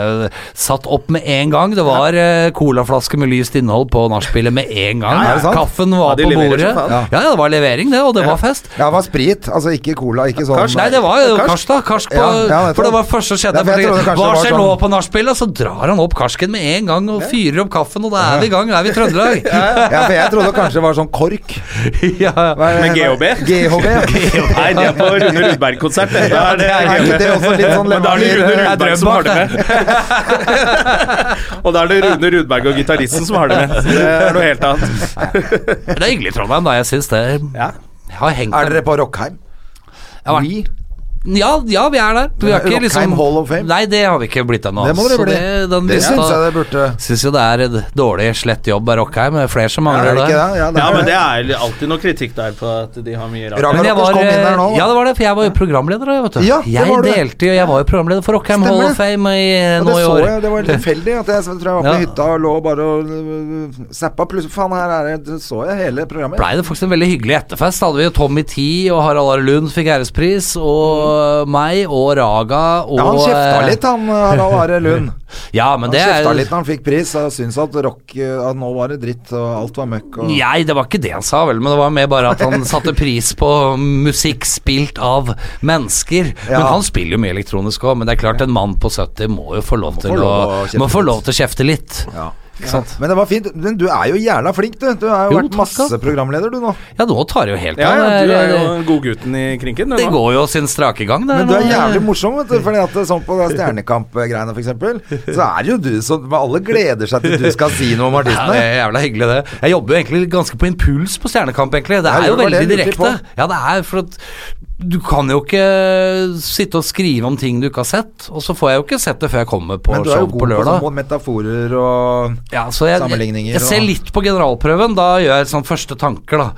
satt opp med en gang. Det var eh, colaflaske med lyst innhold på nachspielet med en gang. Ja, er det sant? Kaffen Ja, var de på leverer bordet. som faen. Ja, ja, det var levering, det, og det var fest. Ja, det var sprit, altså ikke cola, ikke sånn Nei, det var jo Kars, da. Kars på, Ja, ja, nettopp. for det var første som skjedde. Ja, for jeg fordi, trodde kanskje hva det var skjer sånn- nå på nachspielet? Så drar han opp karsken med en gang og fyrer opp kaffen, og da er vi i gang. Da er vi i Trøndelag. Ja, for jeg trodde kanskje det var sånn kork. ja. Hva er det- Med GHB? GHB, ja. Nei, det er på Rune Rudberg-konsert. det. Da er det Er ikke det også litt sånn Men da er det Rune lemonade? Rudberg som har det med. Og da er det Rune Rudberg og gitaristen som har det med. Så det er noe helt annet. Det er hyggelig i Trondheim, da. Jeg syns det. Ja. Jeg har hengt Er dere på Rockheim? Jeg har vært- Vi? Ja, ja, vi er der. Vi har ikke Rockheim liksom Hall of Fame? Nei, det har vi ikke blitt ennå. altså. Det må dere bli. Det syns jeg det burde Syns jo det er et dårlig slett jobb av Rockheim. Det er Flere Er som mangler det ikke det? Ja, Ja, men det er alltid noe kritikk der på at de har mye rart. Raga Men jeg Rockers var, kom inn her nå. ja, det var det, for jeg var jo programleder da, vet du. Ja, det jeg var du. delte jo, jeg var jo programleder for Stemmer Rockheim Hall det. of Fame i, Og det nå i så år. jeg, det var tilfeldig. At jeg, så tror jeg var på Ja. hytta og lå bare og øh, zappa. Plutselig, faen, her er det Det så jeg hele programmet. Blei det faktisk en veldig hyggelig etterfest. Da hadde vi jo Tommy T og Harald Are Lund fikk ærespris, og meg og Raga Mm. og ja, han kjefta eh, litt, han øh, Harald Are Lund. Ja, men Han det er kjefta litt når han fikk pris. Og syntes at rock øh, at nå var det dritt, og alt var møkk. Og... Nei, det var ikke det han sa, vel, men det var mer bare at han satte pris på musikk spilt av mennesker. Men Ja. han spiller jo mye elektronisk òg, men det er klart, en mann på 70 må jo få lov få til å, lov å kjefte Må få litt. lov til å kjefte litt. Ja. Ikke sant? Men det var fint. Men du er jo jævla flink, du. Du har jo, Jo, vært takk, altså. ass. masse programleder, du nå. Ja, nå tar det jo helt Ja, av. ja, du Det- er jo det- godgutten i krinken. du Det nå. går jo sin strake gang, det. Men du er nå. jævlig morsom, vet du. Fordi at det er sånn på det Stjernekamp-greiene, f.eks., så er det jo du som Alle gleder seg til du skal si noe om Ja, det artistene. er jævla hyggelig, det. Jeg jobber jo egentlig ganske på impuls på Stjernekamp, egentlig. Det Ja, er gjør jo det, det veldig er direkte. virkelig Ja, det er for at du kan jo ikke sitte og skrive om ting du ikke har sett, og så får jeg jo ikke sett det før jeg kommer på Men du er show jo på god på lørdag. sånne metaforer og Ja, altså. så jeg, jeg, sammenligninger jeg ser og- litt på generalprøven, da gjør jeg sånn første tanker, da.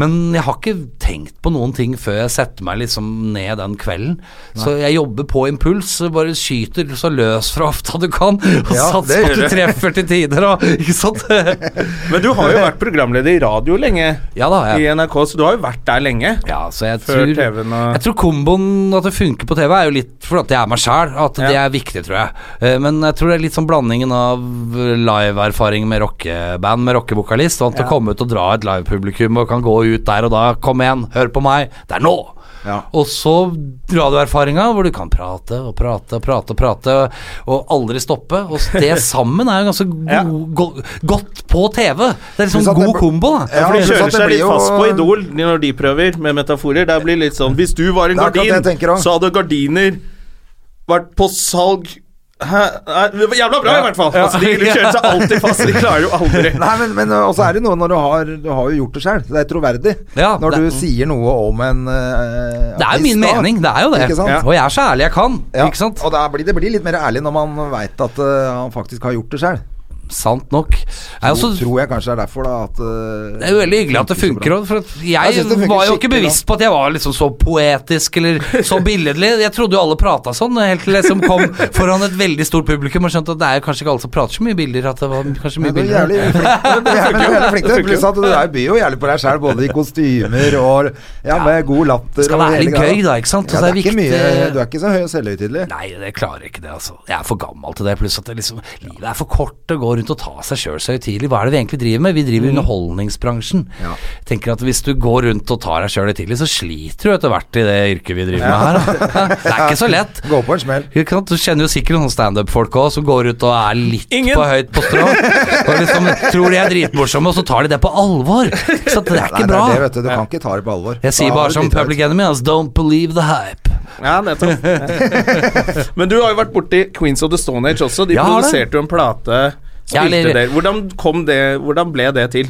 Men jeg har ikke tenkt på noen ting før jeg setter meg liksom ned den kvelden. Så jeg jobber på impuls, så bare skyter så løs fra hofta du kan, og Ja, satser det på at gjør du treffer til tider, og ikke sant. Men du har jo vært programleder i radio lenge. Ja da, jeg I NRK, så du har jo vært der lenge. Ja, så jeg Før tror, TV-en og- Jeg tror komboen at det funker på TV, er jo litt fordi jeg er meg sjæl. At det Ja. er viktig, tror jeg. Eh, Men jeg tror det er litt sånn blandingen av liveerfaring med rockeband, med rockevokalist, og at å komme ut og dra et livepublikum og kan gå ut der og da Kom igjen, hør på meg, det er nå! Ja. Og så radioerfaringa, hvor du kan prate og prate og prate og prate, og aldri stoppe. Og det sammen er jo ganske god, Ja. go- godt på TV. Det er liksom Pluss at en det god bl- kombo, da. Ja, for de pluss at kjører det blir seg litt jo- fast på Idol når de prøver med metaforer. Det blir litt sånn Hvis du var en Det er akkurat gardin, det jeg tenker også. så hadde gardiner vært på salg Hæ? Nei, Det var jævla bra, i hvert fall! Altså, de kjører seg alltid fast. De klarer jo aldri Nei, men, men også er det noe når du har Du har jo gjort det sjøl. Det er troverdig. Ja, når det- du sier noe om en eh, Det er jo artist, min da. mening, det er jo det. Ikke sant? Og jeg er så ærlig jeg kan, Ja, ikke sant? Og da blir, det blir litt mer ærlig når man veit at eh, han faktisk har gjort det sjøl. Sant nok. Nei, Så også- tror jeg kanskje det er derfor, da. At, eh, Det er jo veldig hyggelig at det funker òg, for at jeg, Jeg synes det funker var jo ikke skikkelig bevisst på at jeg var liksom så poetisk eller så billedlig. Jeg trodde jo alle prata sånn, helt til jeg liksom kom foran et veldig stort publikum og skjønte at det er jo kanskje ikke alle som prater så mye bilder, at det var Nei, kanskje mye du er bilder. jævlig flink. Du er men du er jævlig flink til det. funker jo. Pluss at du er- byr jo jævlig på deg sjøl, både i kostymer og ja, med god latter. Det skal og være hele litt greia. gøy da, ikke Ja, sant? Og det så er er ikke viktig- mye, du er ikke så høy og selvhøytidelig. Nei, jeg klarer ikke det, altså. Jeg er for gammel til det. Pluss at det liksom, livet er for kort til å gå rundt og ta seg sjøl så høytidelig. Hva er det vi egentlig driver med? Vi driver i underholdningsbransjen. Mm. Ja. Tenker at hvis du går rundt og tar deg sjøl høytidelig, så sliter du etter hvert i det yrket vi driver med her. Det er ikke så lett. Gå på en smell. Ikke sant? Du kjenner jo sikkert noen standup-folk òg som går ut og er litt Ingen. på høyt på strå. Og liksom tror de er dritmorsomme, og så tar de det på alvor. Så det er Nei, ikke det bra. er det, vet du. Du kan ikke ta det på alvor. Jeg sier Da bare er som det Public dritt høyt. Enemy, altså, don't believe the hype. Ja, nettopp. Men du har jo vært borti Queens of the Stone Age også. De Ja, har det. produserte jo en plate. Ja, Spilte eller- det. Hvordan, kom det, hvordan ble det til?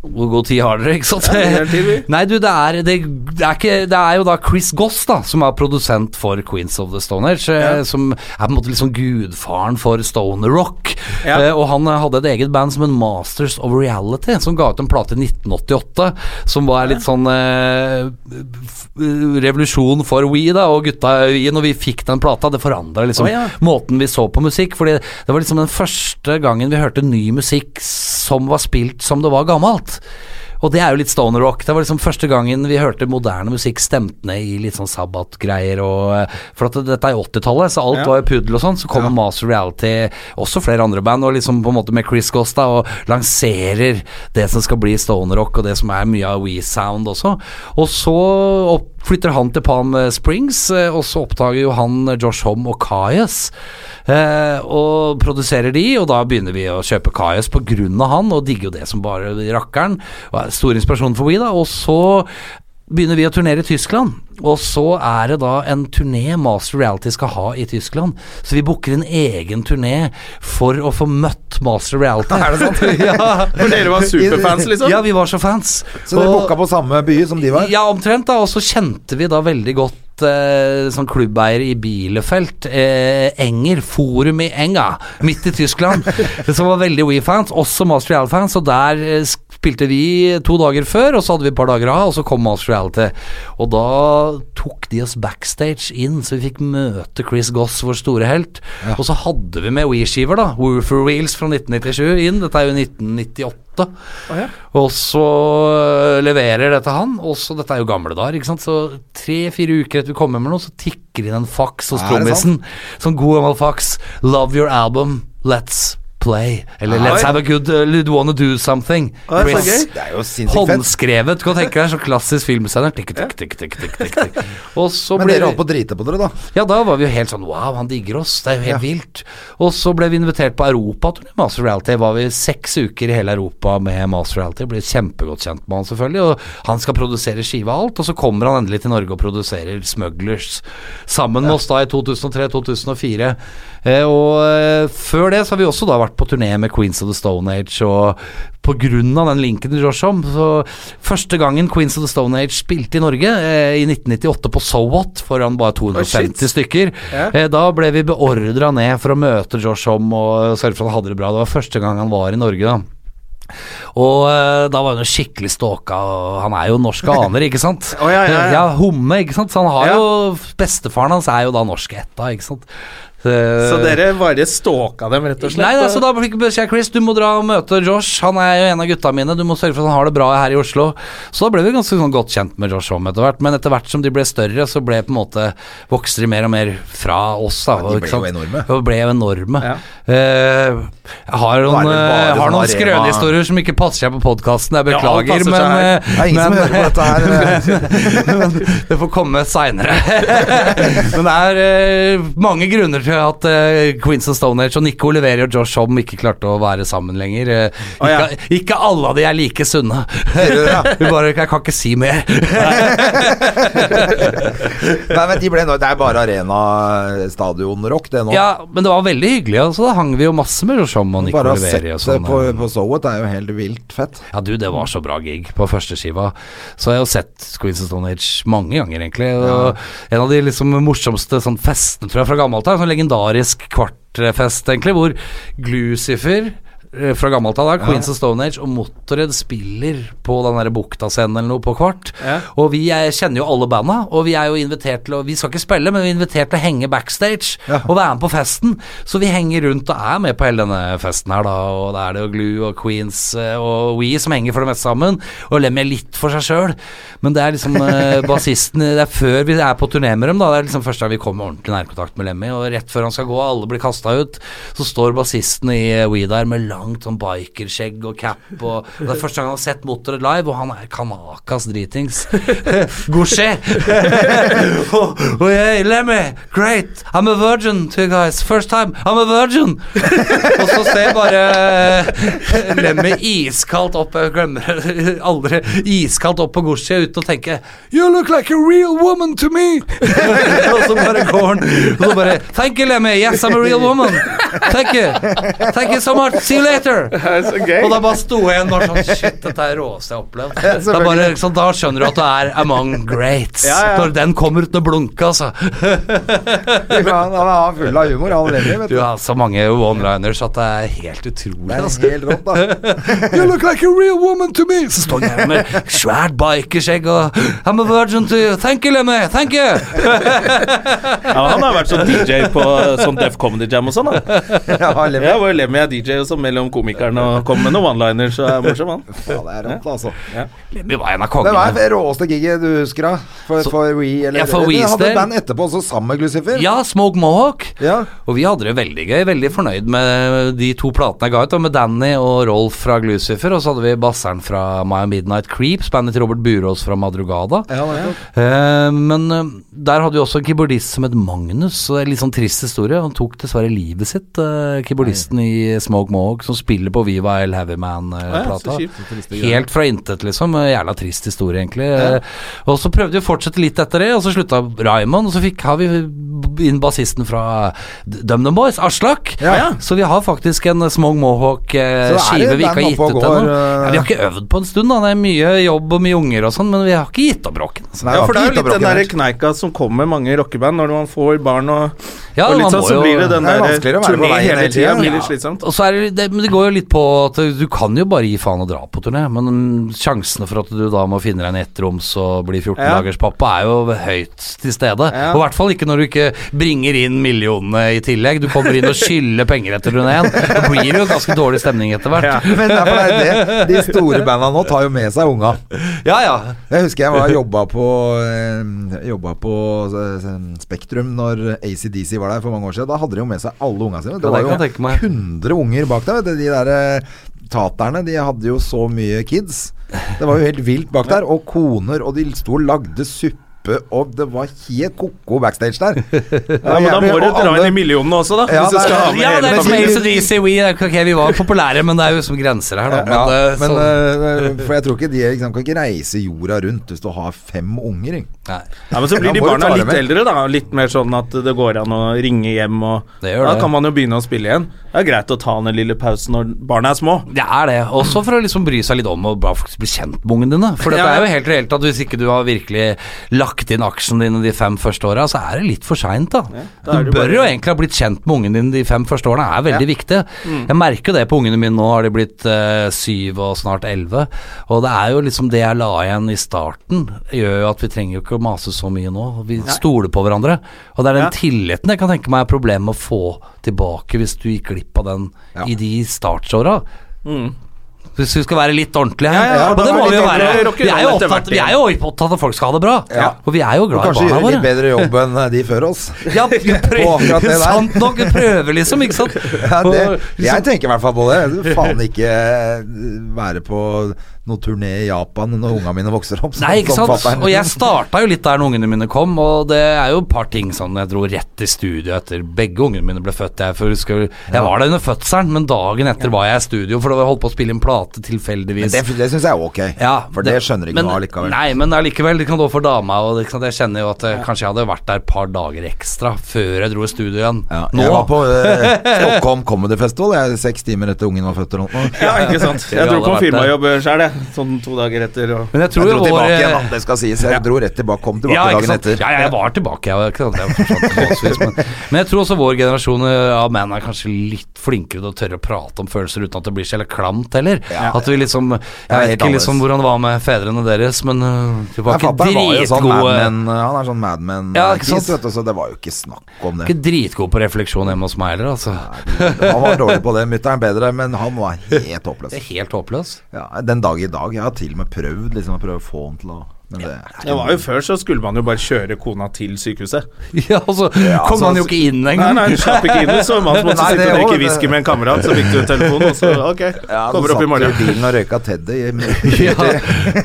Hvor god tid har dere, ikke sant? Ja, det er tid, vi. Nei, du, det er, det, det, er ikke, det er jo da Chris Goss, da, som er produsent for Queens of the Stone Age, eh, som er på en måte liksom gudfaren for stoner rock. Ja. Eh, og han eh, hadde et eget band som en Masters of Reality, som ga ut en plate i 1988, som var litt sånn eh, f- revolusjon for We, da, og gutta i We. Når vi fikk den plata, det forandra liksom Å, ja. måten vi så på musikk, fordi det var liksom den første gangen vi hørte ny musikk som var spilt som det var gammelt. Og det er jo litt stoner rock. Det var liksom første gangen vi hørte moderne musikk stemt ned i litt sånn sabbatgreier og eh, For at dette er jo 80-tallet, så alt Ja. var jo puddel og sånn. Så kommer Master Reality, også flere andre band, og liksom på en måte med Chris Goss da, og lanserer det som skal bli stoner rock, og det som er mye av We-sound også. Og så opp flytter han til Palm Springs, eh, og så oppdager jo han eh, Josh Homme og Kayas. Eh, og produserer de, og da begynner vi å kjøpe Kayas på grunn av han, og digger jo det som bare rakkeren. Og er Stor inspirasjon for We, da. Og så begynner vi å turnere i Tyskland. Og så er det da en turné Master Reality skal ha i Tyskland. Så vi booker en egen turné for å få møtt Master Reality. Er det sant? ja. For dere var superfans, liksom? ja, vi var så fans. Så dere Og- booka på samme by som de var? ja, omtrent da, og så kjente vi da veldig godt eh, sånn klubbeier i Bielefeld, eh, Enger, Forum i Enga, midt i Tyskland, som var veldig We-fans, også Master Real-fans, og der eh, spilte vi to dager før, og så hadde vi et par dager av, og så kom Master Reality. Og da tok de oss backstage inn, så vi fikk møte Chris Goss, vår store helt, og så hadde vi med We-skiver da, Woofer Wheels fra 1997 inn, dette er jo 1998. Og så øh, leverer dette han, og så Dette er jo gamle dager, ikke sant. Så tre-fire uker etter vi kommer med noe, så tikker det inn en faks hos Er det trommisen. Sånn god gammel faks. 'Love your album. Let's play'. Eller Oi. 'Let's have a good uh, You'd wanna do something'. Oi, så Chris. gøy. Det er jo sinnssykt fett. Håndskrevet. Du kan tenke deg en sånn klassisk filmsender. Tikk, tikk, tikk, tikk, tikk, tikk, tikk. Og så Men blir- dere holdt på å drite på dere, da. ja, da var vi jo helt sånn Wow, han digger oss. Det er jo helt vilt. Og så ble vi invitert på europaturné med Master Reality. Var vi seks uker i hele Europa med Master Reality. Ble kjempegodt kjent med han, selvfølgelig. Og han skal produsere skive og alt. Og så kommer han endelig til Norge og produserer Smugglers sammen med oss da i 2003-2004. Eh, og eh, før det så har vi også da vært på turné med Queens of the Stone Age og på grunn av den linken til Josh Homme, så Første gangen Queens of the Stone Age spilte i Norge, eh, i 1998 på So What, foran bare Oh, 250 stykker, eh, da ble vi beordra ned for å møte Josh Homme og sørge for at han hadde det bra. Det var første gang han var i Norge, da. Og eh, da var hun jo skikkelig stalka, og han er jo norsk og aner, ikke sant? Å, ja, ja, ja. Homme, ikke sant? Så han har Ja. jo Bestefaren hans er jo da norsk ætta, ikke sant? Så dere bare stalka dem, rett og slett? Nei, nei, altså, så da fikk jeg beskjed av Chris Du må dra og møte Josh. Han er jo en av gutta mine. Du må sørge for at han har det bra her i Oslo. Så da ble vi ganske sånn godt kjent med Josh om etter hvert. Men etter hvert som de ble større, så ble på en måte vokste de mer og mer fra oss. Ja, Da, de og, ble ikke sant? jo enorme. Og ble jo enorme. Ja. Eh, jeg har noen, Nå er det bare eh, har sånn noen arena- skrønehistorier som ikke passer seg på podkasten. Ja, Jeg alt beklager, passer seg men, her. eh, Det er ingen som men- hører på dette her. eh. men det får komme seinere. Men det er eh, mange grunner til at eh, Queens of Stone Age og Nico Oliveri og Josh Homme ikke klarte å være sammen lenger. Eh, Å, ja. ikke, ikke alle av de er like sunne. du det, ja? Vi bare, jeg kan ikke si mer. Nei, men de ble, nå- det er bare arena-stadionrock, det nå. Ja, Men det var veldig hyggelig, og så da hang vi jo masse med Josh Homme og Nico bare å Oliveri sette og sånn. på, eh. på showet det er jo helt vilt fett. Ja, du, det var så bra gig på førsteskiva. Så jeg har jo sett Queens of Stone Age mange ganger, egentlig. Og En av de liksom morsomste sånn festene tror jeg, fra gammelt av, en sånn legendarisk kvartfest, egentlig, hvor Glucifer eh, fra gammelt av, da, Queens of Stone Age og Motorhead spiller på den der Bukta-scenen eller noe på Kvart. Ja. Og vi er, kjenner jo alle banda, og vi er jo invitert til å Vi skal ikke spille, men vi er invitert til å henge backstage og være med på festen. Så vi henger rundt og er med på hele denne festen her, da. Og da er det jo Glue og Queens eh, og We som henger for det meste sammen. Og Lemmy er litt for seg sjøl. Men det er liksom eh, bassisten Det er før vi er på turné med dem, da. Det er liksom første gang vi kommer ordentlig i nærkontakt med Lemmy. Og rett før han skal gå, og alle blir kasta ut, så står bassisten i eh, We der med langt sånn bikerskjegg og cap. Og, og det er første gang han har sett Motorhead live, og han er kanakas dritings. Gouché. og, og jeg, Lemmy, great, I'm a virgin to you guys. First time, I'm a virgin. og så ser jeg bare eh, Lemmy iskaldt opp, jeg glemmer det aldri, iskaldt opp på Gouché uten å tenke You look like a real woman to me. og så bare går han, og så bare Thank you, Lemmy. Yes, I'm a real woman. Thank you. Thank you so much. See you later. Det er så gøy. Og da bare sto jeg igjen bare sånn Shit, dette er råeste jeg har opplevd. Da, selvfølgelig. bare, liksom, da skjønner du at du er among greats. Ja, ja. Når den kommer uten å blunke, altså. Ja, Han er full av humor, han Lenny, vet Du du. har så mange one-liners at det er helt utrolig. Det er Altså. helt rått, da. You look like a real woman to me! Så står jeg her med svært bikerskjegg og I'm a virgin to you. Thank you, Lemmy. Thank you. Ja, han har vært sånn DJ på sånn Def Comedy Jam og sånn, da. Ja, Lemmy. Jeg var jo Lemmy er DJ og sånn mellom komikerne og kom med noen one-liners, så er morsom, han. Ja, det er rått, altså. Lemmy var en Men av hva er kongene. det råeste giget du husker, da? For, Så- for We? Eller, Ja, for Dere We's hadde del. band etterpå også, sammen med Glucifer? Ja, Smoke Mohawk. Ja. Og vi hadde det veldig gøy, veldig fornøyd med de to platene jeg ga ut, da, med Danny og Rolf fra Glucifer, og så hadde vi basseren fra My Midnight Creeps, bandet til Robert Burås fra Madrugada. Ja, nettopp. Eh, men eh, der hadde vi også en keyboardist som het Magnus, og det er en litt sånn trist historie. Han tok dessverre livet sitt, eh, keyboardisten i Smoke Mohawk, som spiller på Viva El eh, Ja, ja, Heavyman-plata. så kjipt. Så triste greier. Helt fra intet, liksom. Eh, Jævla trist historie, egentlig. Eh, Og så prøvde vi å fortsette litt etter det, og så slutta Raymond, og så fikk, har vi inn bassisten fra DumDum Boys, Aslak. Ja, ja. Så vi har faktisk en eh, Smoke Så det er Mohawk-skive det vi ikke band har gitt oppe og ut går, ennå. eh. Ja, vi har ikke øvd på en stund, da. Det er mye jobb og mye unger og sånn, men vi har ikke gitt opp rocken. Altså. Nei, Ja, for det er var jo litt ikke den der gitabrokken kneika som kommer med mange rockeband når man får barn og, Ja, og litt man sånn, må så jo- blir det den Det er der vanskeligere å være på turné veien hele hele tida. tiden. Blir litt slitsomt. Og så er det, det, men det går jo litt på at du kan jo bare gi faen og dra på turné, men sjansene for at du da må finne deg en ettroms og bli 14 Ja. dagers pappa er jo høyt til stede. Ja. Og i hvert fall ikke når du ikke bringer inn millionene i tillegg. Du kommer inn og skylder penger etter turneen. Det blir jo ganske dårlig stemning etter hvert. Ja. Men derfor er det De store banda nå tar jo med seg unga. Ja, ja. Jeg husker jeg var jobba på eh, Jobba på eh, Spektrum når ACDC var der for mange år siden. Da hadde de jo med seg alle unga sine. Ja, Det var det jo kan jeg tenke meg. 100 unger bak der. Vet du. De der eh, taterne, de hadde jo så mye kids. Det var jo helt vilt bak der. Og koner, og de sto og lagde suppe. Og det var helt ko-ko backstage der. Ja, men da må du dra inn i millionene også, da. Ja, hvis du skal det er- ha med Ja, det hele er som familien. ACDC, we, ok, vi var populære, men det er jo som grenser her, da. Men, ja, eh, men, sånn- eh, For jeg tror ikke de liksom, kan ikke reise jorda rundt hvis du har fem unger. Ikke? Nei. Ja, men så blir Da de må du barna ta det litt med. eldre, da. Litt mer sånn at det går an å ringe hjem og Det gjør Da det. kan man jo begynne å spille igjen. Det er greit å ta den lille pausen når barna er små. Det er det. Også for å liksom bry seg litt om og bare faktisk bli kjent med ungene dine. For dette Ja, ja. er jo helt reelt at hvis ikke du har virkelig lagt lagt inn aksjene dine de fem første åra, så er det litt for seint, da. da er du det bør bare- jo egentlig ha blitt kjent med ungen din de fem første årene, er veldig viktig. Mm. Jeg merker jo det på ungene mine nå, har de blitt eh, syv og snart elleve. Og det er jo liksom det jeg la igjen i starten, gjør jo at vi trenger jo ikke å mase så mye nå. Vi stoler på hverandre. Og det er den Ja. tilliten jeg kan tenke meg er problemet å få tilbake hvis du gikk glipp av den Ja. i de startsåra. Hvis vi skal være litt ordentlige Ja, her, ja, ja, og da det er må vi vi jo litt være. ordentlige, rocker Vi er jo roll etter hvert opptatt, vi er jo opptatt av at folk skal ha det bra, Ja. og vi er jo glad i Kanskje barna gjøre litt våre. bedre jobb enn eh, de før oss. Ja, vi På akkurat det prøver, der. sant nok, vi prøver liksom, ikke sant? Ja, det, Og- jeg tenker i hvert fall på det. Jeg vil faen ikke eh, være på noe turné i Japan når unga mine vokser opp. som- Nei, ikke som sant? fatteren. Og jeg starta jo litt der når ungene mine kom, og det er jo et par ting sånn Jeg dro rett i studio etter begge ungene mine ble født. Jeg, for husker, jeg var der under fødselen, men dagen etter var jeg i studio, for da holdt på å spille en plate Men tilfeldigvis. det, det syns jeg er ok, Ja, for det, skjønner ikke men- noe av likevel. Nei, men allikevel, det kan gå for dama. Og det, ikke sant, jeg kjenner jo at eh, kanskje jeg hadde vært der et par dager ekstra før jeg dro i studio igjen. Ja, Nå jeg var på eh, Stockholm Comedy Festival jeg, seks timer etter ungen var født. Eller noe. Ja, ikke sant. Vi Jeg har dro på alle vært firmajobb sjøl, jeg. Sånn to dager etter. Og... Men jeg tror Jeg dro jo vår tilbake igjen, eh, da, det skal sies. Jeg dro rett tilbake, kom tilbake ja, ikke dagen sant? etter. Ja, ja, jeg var tilbake. Jeg, var- ikke sant? Jeg var forsvant forholdsvis, men, men jeg tror også vår generasjon eh, av menn er kanskje litt flinkere til å tørre å prate om følelser uten at det blir så jævla klamt heller. Ja. At vi liksom Jeg Ja, vet helt ikke liksom annerledes. hvordan det var med fedrene deres, men eh, de var Nei, ikke Fatter'n var jo sånn dritgode. Mad Men, eh, han er sånn Mad Men Ja, eh, ikke sant? kiss, vet du, så det var jo ikke snakk om det. Ikke dritgod på refleksjon hjemme hos meg heller, altså. Han var dårlig på det. Mutter'n bedre, men han var helt håpløs. Det er helt håpløs. Ja, den dag i dag. Jeg har til og med prøvd liksom, å prøve å få han til å Men det er Det var jo før så skulle man jo bare kjøre kona til sykehuset. Ja, og så kom altså, han jo ikke inn Nei, engang. nei, du slapp ikke inn, så man Nei, det måtte sitte og drikke også, det- whisky med en kamerat, så fikk du telefon, og så ok, Ja, kommer opp i satt du i morgen. bilen og røyka Teddy. i- Ja.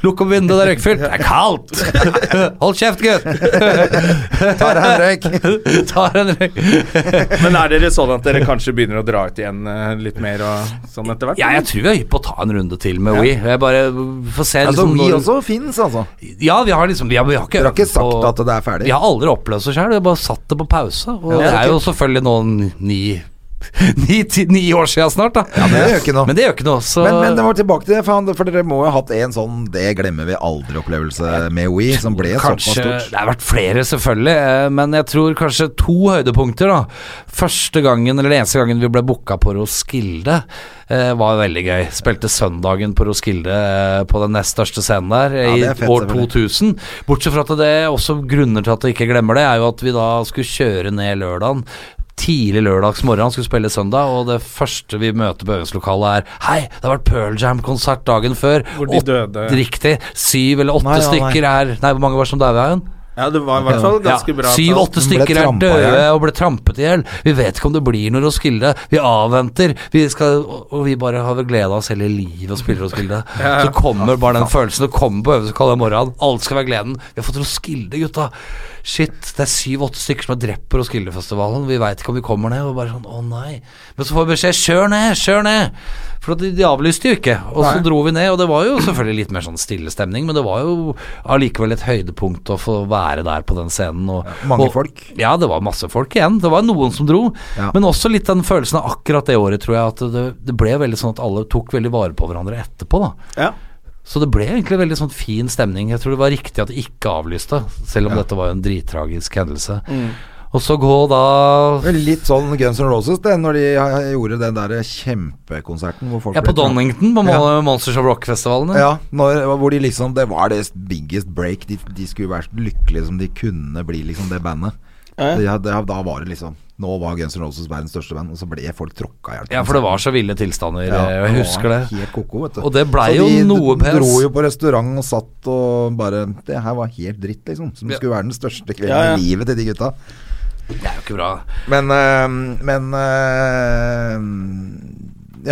Lukk opp vinduet, det er røykfylt. Det er kaldt! Hold kjeft, gutt! Tar deg en røyk. Tar en røyk. Men er dere sånn at dere kanskje begynner å dra ut igjen eh, litt mer og sånn etter hvert? Ja, jeg tror vi er hypp på å ta en runde til med We. Jeg bare får se Altså, liksom, vi når- også fins, altså. Ja, vi har liksom Vi har, vi har ikke Dere har ikke øvd på- sagt at det er ferdig. Vi har aldri oppløst det sjøl, vi har bare satt det på pause. Og det er jo selvfølgelig nå ni Ni, ti, ni år siden snart, da. men det gjør ikke noe. Men det gjør ikke noe, så Men, men det var tilbake til det, faen, for dere må jo ha hatt en sånn 'det glemmer vi aldri'-opplevelse med We, som ble såpass Kanskje, stort. det har vært flere selvfølgelig, eh, men jeg tror kanskje to høydepunkter da. Første gangen, eller den eneste gangen vi ble booka på Roskilde, eh, var veldig gøy. Spilte søndagen på Roskilde eh, på den nest største scenen der eh, Ja, det er i fett, år selvfølgelig. 2000. Bortsett fra at det også grunner til at jeg ikke glemmer det, er jo at vi da skulle kjøre ned lørdagen. Tidlig lørdags morgen skulle spille søndag, og det første vi møter på øvingslokalet er Hei, det har vært Pearl Jam-konsert dagen før. Hvor de Åt- døde. Riktig. Syv eller åtte Nei, ja, nei. stykker er Nei, hvor mange var som daua igjen? Ja, det var i hvert fall ganske bra. tall. Syv-åtte Den ble stykker er trampa døde ihjel. og ble trampet i hjel. Vi vet ikke om det blir noe Roskilde. Vi avventer. Vi skal, og og vi bare har vel gleda oss hele livet og spiller Roskilde. Så kommer bare den følelsen. Det kommer på øvelseskallet i morgen. Alt skal være gleden. Vi har fått Roskilde, gutta. Shit, det er syv-åtte stykker som er drept på Roskildefestivalen. Vi veit ikke om vi kommer ned. Og bare sånn, å nei. Men så får vi beskjed, kjør ned, kjør ned. For at de, de avlyste jo ikke. Og så dro vi ned, og det var jo selvfølgelig litt mer sånn stille stemning, men det var jo allikevel et høydepunkt å få være der på den scenen. Og, Mange og, folk. ja, det var masse folk igjen. Det var noen som dro. Ja. Men også litt den følelsen av akkurat det året, tror jeg, at det, det ble veldig sånn at alle tok veldig vare på hverandre etterpå, da. Ja. Så det ble egentlig veldig sånn fin stemning. Jeg tror det var riktig at de ikke avlyste, selv om dette var jo en drittragisk hendelse. Mm. Og så gå da Men Litt sånn Guns N' Roses, det, når de eh, gjorde den der kjempekonserten hvor folk Ja, på ble- Donington, på Mon- Monsters of Rock-festivalen. Ja, når, hvor de liksom Det var det biggest break. De, de skulle være så lykkelige som de kunne bli, liksom, det bandet. Det, det, da var det liksom Nå var Guns N' Roses verdens største band, og så ble folk tråkka i hjel. Ja, for det var så ville tilstander, eh, Ja, og jeg det husker var det. Helt koko, vet du. Og det ble Så jo de d- noe pes. Dro jo på restaurant og satt og bare Det her var helt dritt, liksom. Som Ja. skulle være den største kvelden Ja, ja. i livet til de gutta. Det er jo ikke bra. Men, eh, men eh,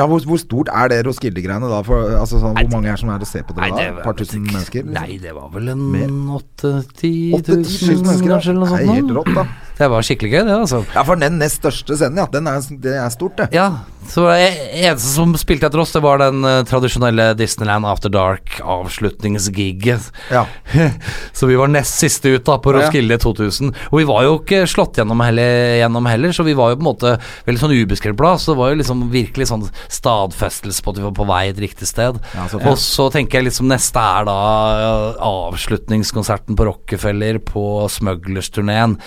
ja, hvor, hvor stort er det Roskilde-greiene da? For, altså, sånn, hvor mange er som er og ser på det da? Et par tusen mennesker? liksom? Nei, det var vel en Mer. 8-10 8000 tusen mennesker, kanskje, eller noe Det er sånt. helt nå. rått, da. Det var skikkelig gøy, det, altså. Ja, for den nest største scenen, ja. Den er, det er stort, det. Ja, så var det eneste som spilte etter oss, det var den eh, tradisjonelle Disneyland After Dark-avslutningsgiget. Ja. så vi var nest siste ut da på Roskilde 2000. Og vi var jo ikke slått gjennom heller, gjennom heller så vi var jo på en måte veldig sånn ubeskrevet blad. Så det var jo liksom virkelig sånn stadfestelse på at vi var på vei et riktig sted. Ja, så Og så tenker jeg liksom neste er da eh, avslutningskonserten på Rockefeller på Smugglers-turneen.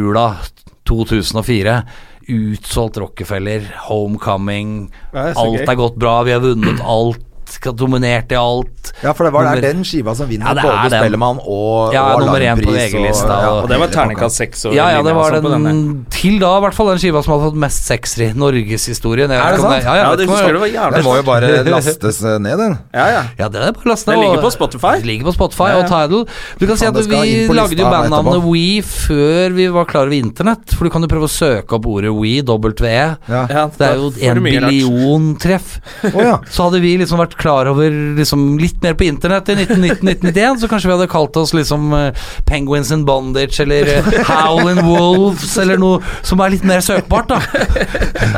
Jula 2004. Utsolgt Rockefeller, Homecoming. Ja, det er så alt gøy. er gått bra, vi har vunnet alt. skal- Dominert i alt. Ja, for det var Nummer- der den skiva som vinner Ja, det er både den. Spellemann og Ja, og nummer én på Alarmpris VG-lista, og- Og det var hele pakka. terningkast seks. og Ja, ja, linja det var og sånn på denne. den til da, i hvert fall den skiva som hadde fått mest seksere i norgeshistorien. Jeg Er vet det ikke om sant? Ja, Ja, det jeg vet ikke om husker jeg- du var Den jævlig må jo bare lastes eh, ned, den. Ja, ja. Ja, det er bare å laste ned. Den og- ligger på Spotify. Den ligger på Spotify Ja, ja. og Tidal. Du kan si Faen, at det skal vi inn på lagde jo lista bandnavnet etterpå. We før vi var klar over internett. For du kan jo prøve å søke opp ordet We, W-E. Ja. Ja, Det er jo da får du en mye rart. billion treff. Å, ja. Så hadde vi liksom vært klar over liksom litt mer på internett i 1990-1991, så kanskje vi hadde kalt oss liksom eh, Penguins in Bondage eller eh, Howlin' Wolves eller noe som er litt mer søkbart, da. For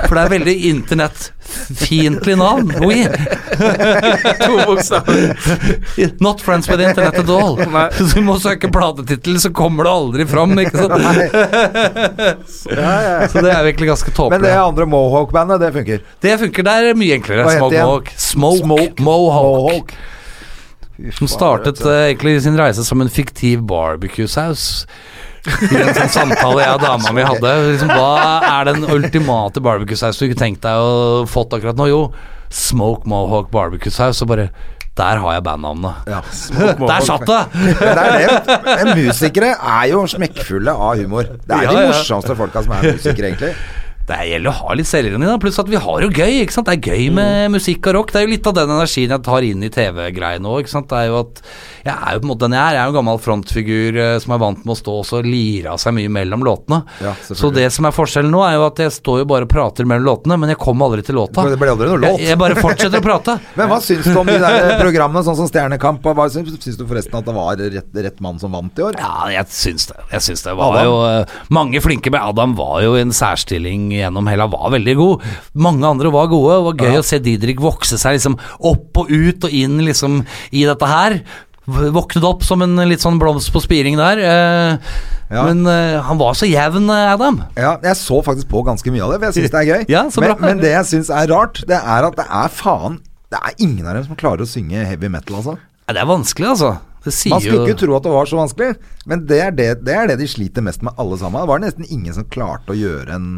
det er veldig internettfiendtlig navn. We. To bokstaver. Not friends with internet at all. Nei. Så du må søke platetittel, så kommer det aldri fram, ikke sant. Så det er virkelig ganske Men det tåpelig. andre Mohawk-bandet, det funker. Det funker. Det er mye enklere. Hva heter Smoke det? Mohawk. Smoke, Smoke Mohawk. Fy Som faen, startet vet du. eh, egentlig sin reise som en fiktiv barbecue-saus. I en sånn samtale jeg og dama mi hadde. Liksom, hva er den ultimate barbecue-sausen du ikke tenkte deg å fått akkurat nå? Jo, Smoke Mohawk barbecue-saus. Og bare Der har jeg bandnavnet. Ja. Der satt det! Men det er det. Men musikere er jo smekkfulle av humor. Det er Ja, de ja. morsomste folka som er musikere, egentlig. Det gjelder å ha litt selvironi, da. Pluss at vi har jo gøy, ikke sant. Det er gøy Mm. med musikk og rock. Det er jo litt av den energien jeg tar inn i TV-greiene òg, ikke sant. Det er jo at jeg er jo på en måte den jeg er. Jeg er jo en gammel frontfigur eh, som er vant med å stå og så lire av seg mye mellom låtene. Ja, selvfølgelig. så det som er forskjellen nå, er jo at jeg står jo bare og prater mellom låtene, men jeg kom aldri til låta. Det ble aldri noe låt. Jeg, jeg bare fortsetter å prate. Men hva syns du om de der programmene, sånn som Stjernekamp? Og hva syns, syns du forresten at det var rett, rett mann som vant i år? Ja, jeg syns det. Jeg syns det var Adam? jo eh, Mange flinke med Adam var jo i en særstilling gjennom hele, han var veldig god. Mange andre var gode. Det var gøy å se Didrik vokse seg liksom opp og ut og inn liksom i dette her. V- Våknet opp som en litt sånn blomst på spiring der. eh, Ja. Men eh, han var så jevn, eh, Adam. Ja, jeg så faktisk på ganske mye av det, for jeg syns det er gøy. Ja, så men, bra. men det jeg syns er rart, det er at det er faen Det er ingen av dem som klarer å synge heavy metal, altså. Ja, det er vanskelig, altså. Det sier Man skulle jo ikke tro at det var så vanskelig, men det er det, det er det de sliter mest med alle sammen. Det var nesten ingen som klarte å gjøre en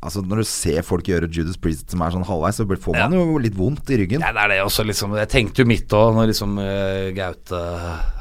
Altså Når du ser folk gjøre Judas Priest som er sånn halvveis, så blir- får man jo litt vondt i ryggen. Nei, det er det også, liksom. Jeg tenkte jo mitt òg, når liksom eh, Gaute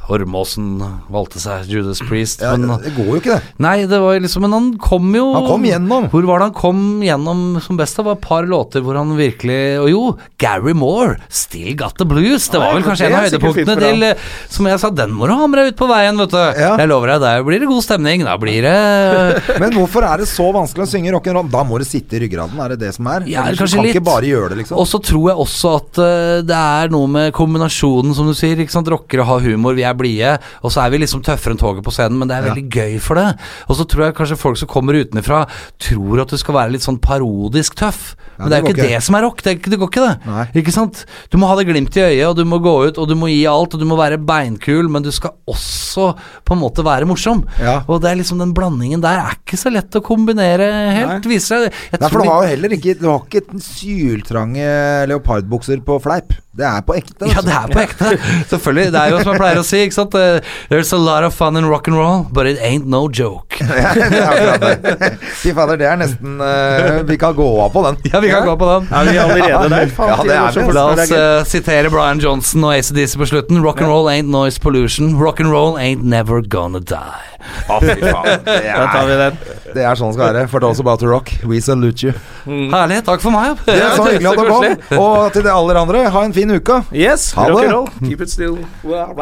Hormåsen valgte seg Judas Priest. Ja, men, det går jo ikke, det. Nei, det var jo liksom Men han kom jo Han kom gjennom. Hvor var det han kom gjennom som best? Det var et par låter hvor han virkelig Og jo, Gary Moore, 'Still Got The Blues'. Det var vel det kanskje er en av sikkert fint høydepunktene for til eh, Som jeg sa, den må du ha med deg ut på veien, vet du. Ja. Jeg lover deg, der blir det god stemning. Da blir det Men hvorfor er det så vanskelig å synge rock'n'roll? Da må det sitte i ryggraden, er det det som er? Ja, Ellers kanskje du kan litt. ikke bare gjøre det, liksom. Og så tror jeg også at eh, det er noe med kombinasjonen, som du sier. ikke sant? Rockere har humor, vi er blide, og så er vi liksom tøffere enn toget på scenen, men det er veldig gøy for det. Og så tror jeg kanskje folk som kommer utenfra, tror at du skal være litt sånn parodisk tøff. Ja, men det er jo det går ikke ikke. det som er rock, det, er ikke, det går ikke det. Nei. Ikke sant? Du må ha det glimt i øyet, og du må gå ut, og du må gi alt, og du må være beinkul, men du skal også på en måte være morsom. Ja. Og det er liksom den blandingen der er ikke så lett å kombinere helt, viser seg. Jeg Nei, tror for du de- har jo heller ikke Du har ikke et syltrange leopardbukser på fleip. Det er på ekte. altså. Ja, det er på ekte. Selvfølgelig. Det er jo som jeg pleier å si, ikke sant. eh, There's a lot of fun in rock and roll, but it ain't no joke. det er akkurat det. Fy fader, det er nesten eh, Vi kan gå av på den. Ja, vi kan gå på den. Er vi allerede der? Ja, det er vi. La oss eh, sitere Brian Johnson og ACDC på slutten. Rock and roll ain't noise pollution. Rock and roll ain't never gonna die. Å, fy faen. Det Da tar vi er, den. det er sånn det skal være. For those about to rock, we salute you. Herlig. Takk for meg. Det er Mm. så det er hyggelig så at du kom. Og til de aller andre, ha en fin uke. Yes, Ha det. rock'n'roll. Keep it still. Wow.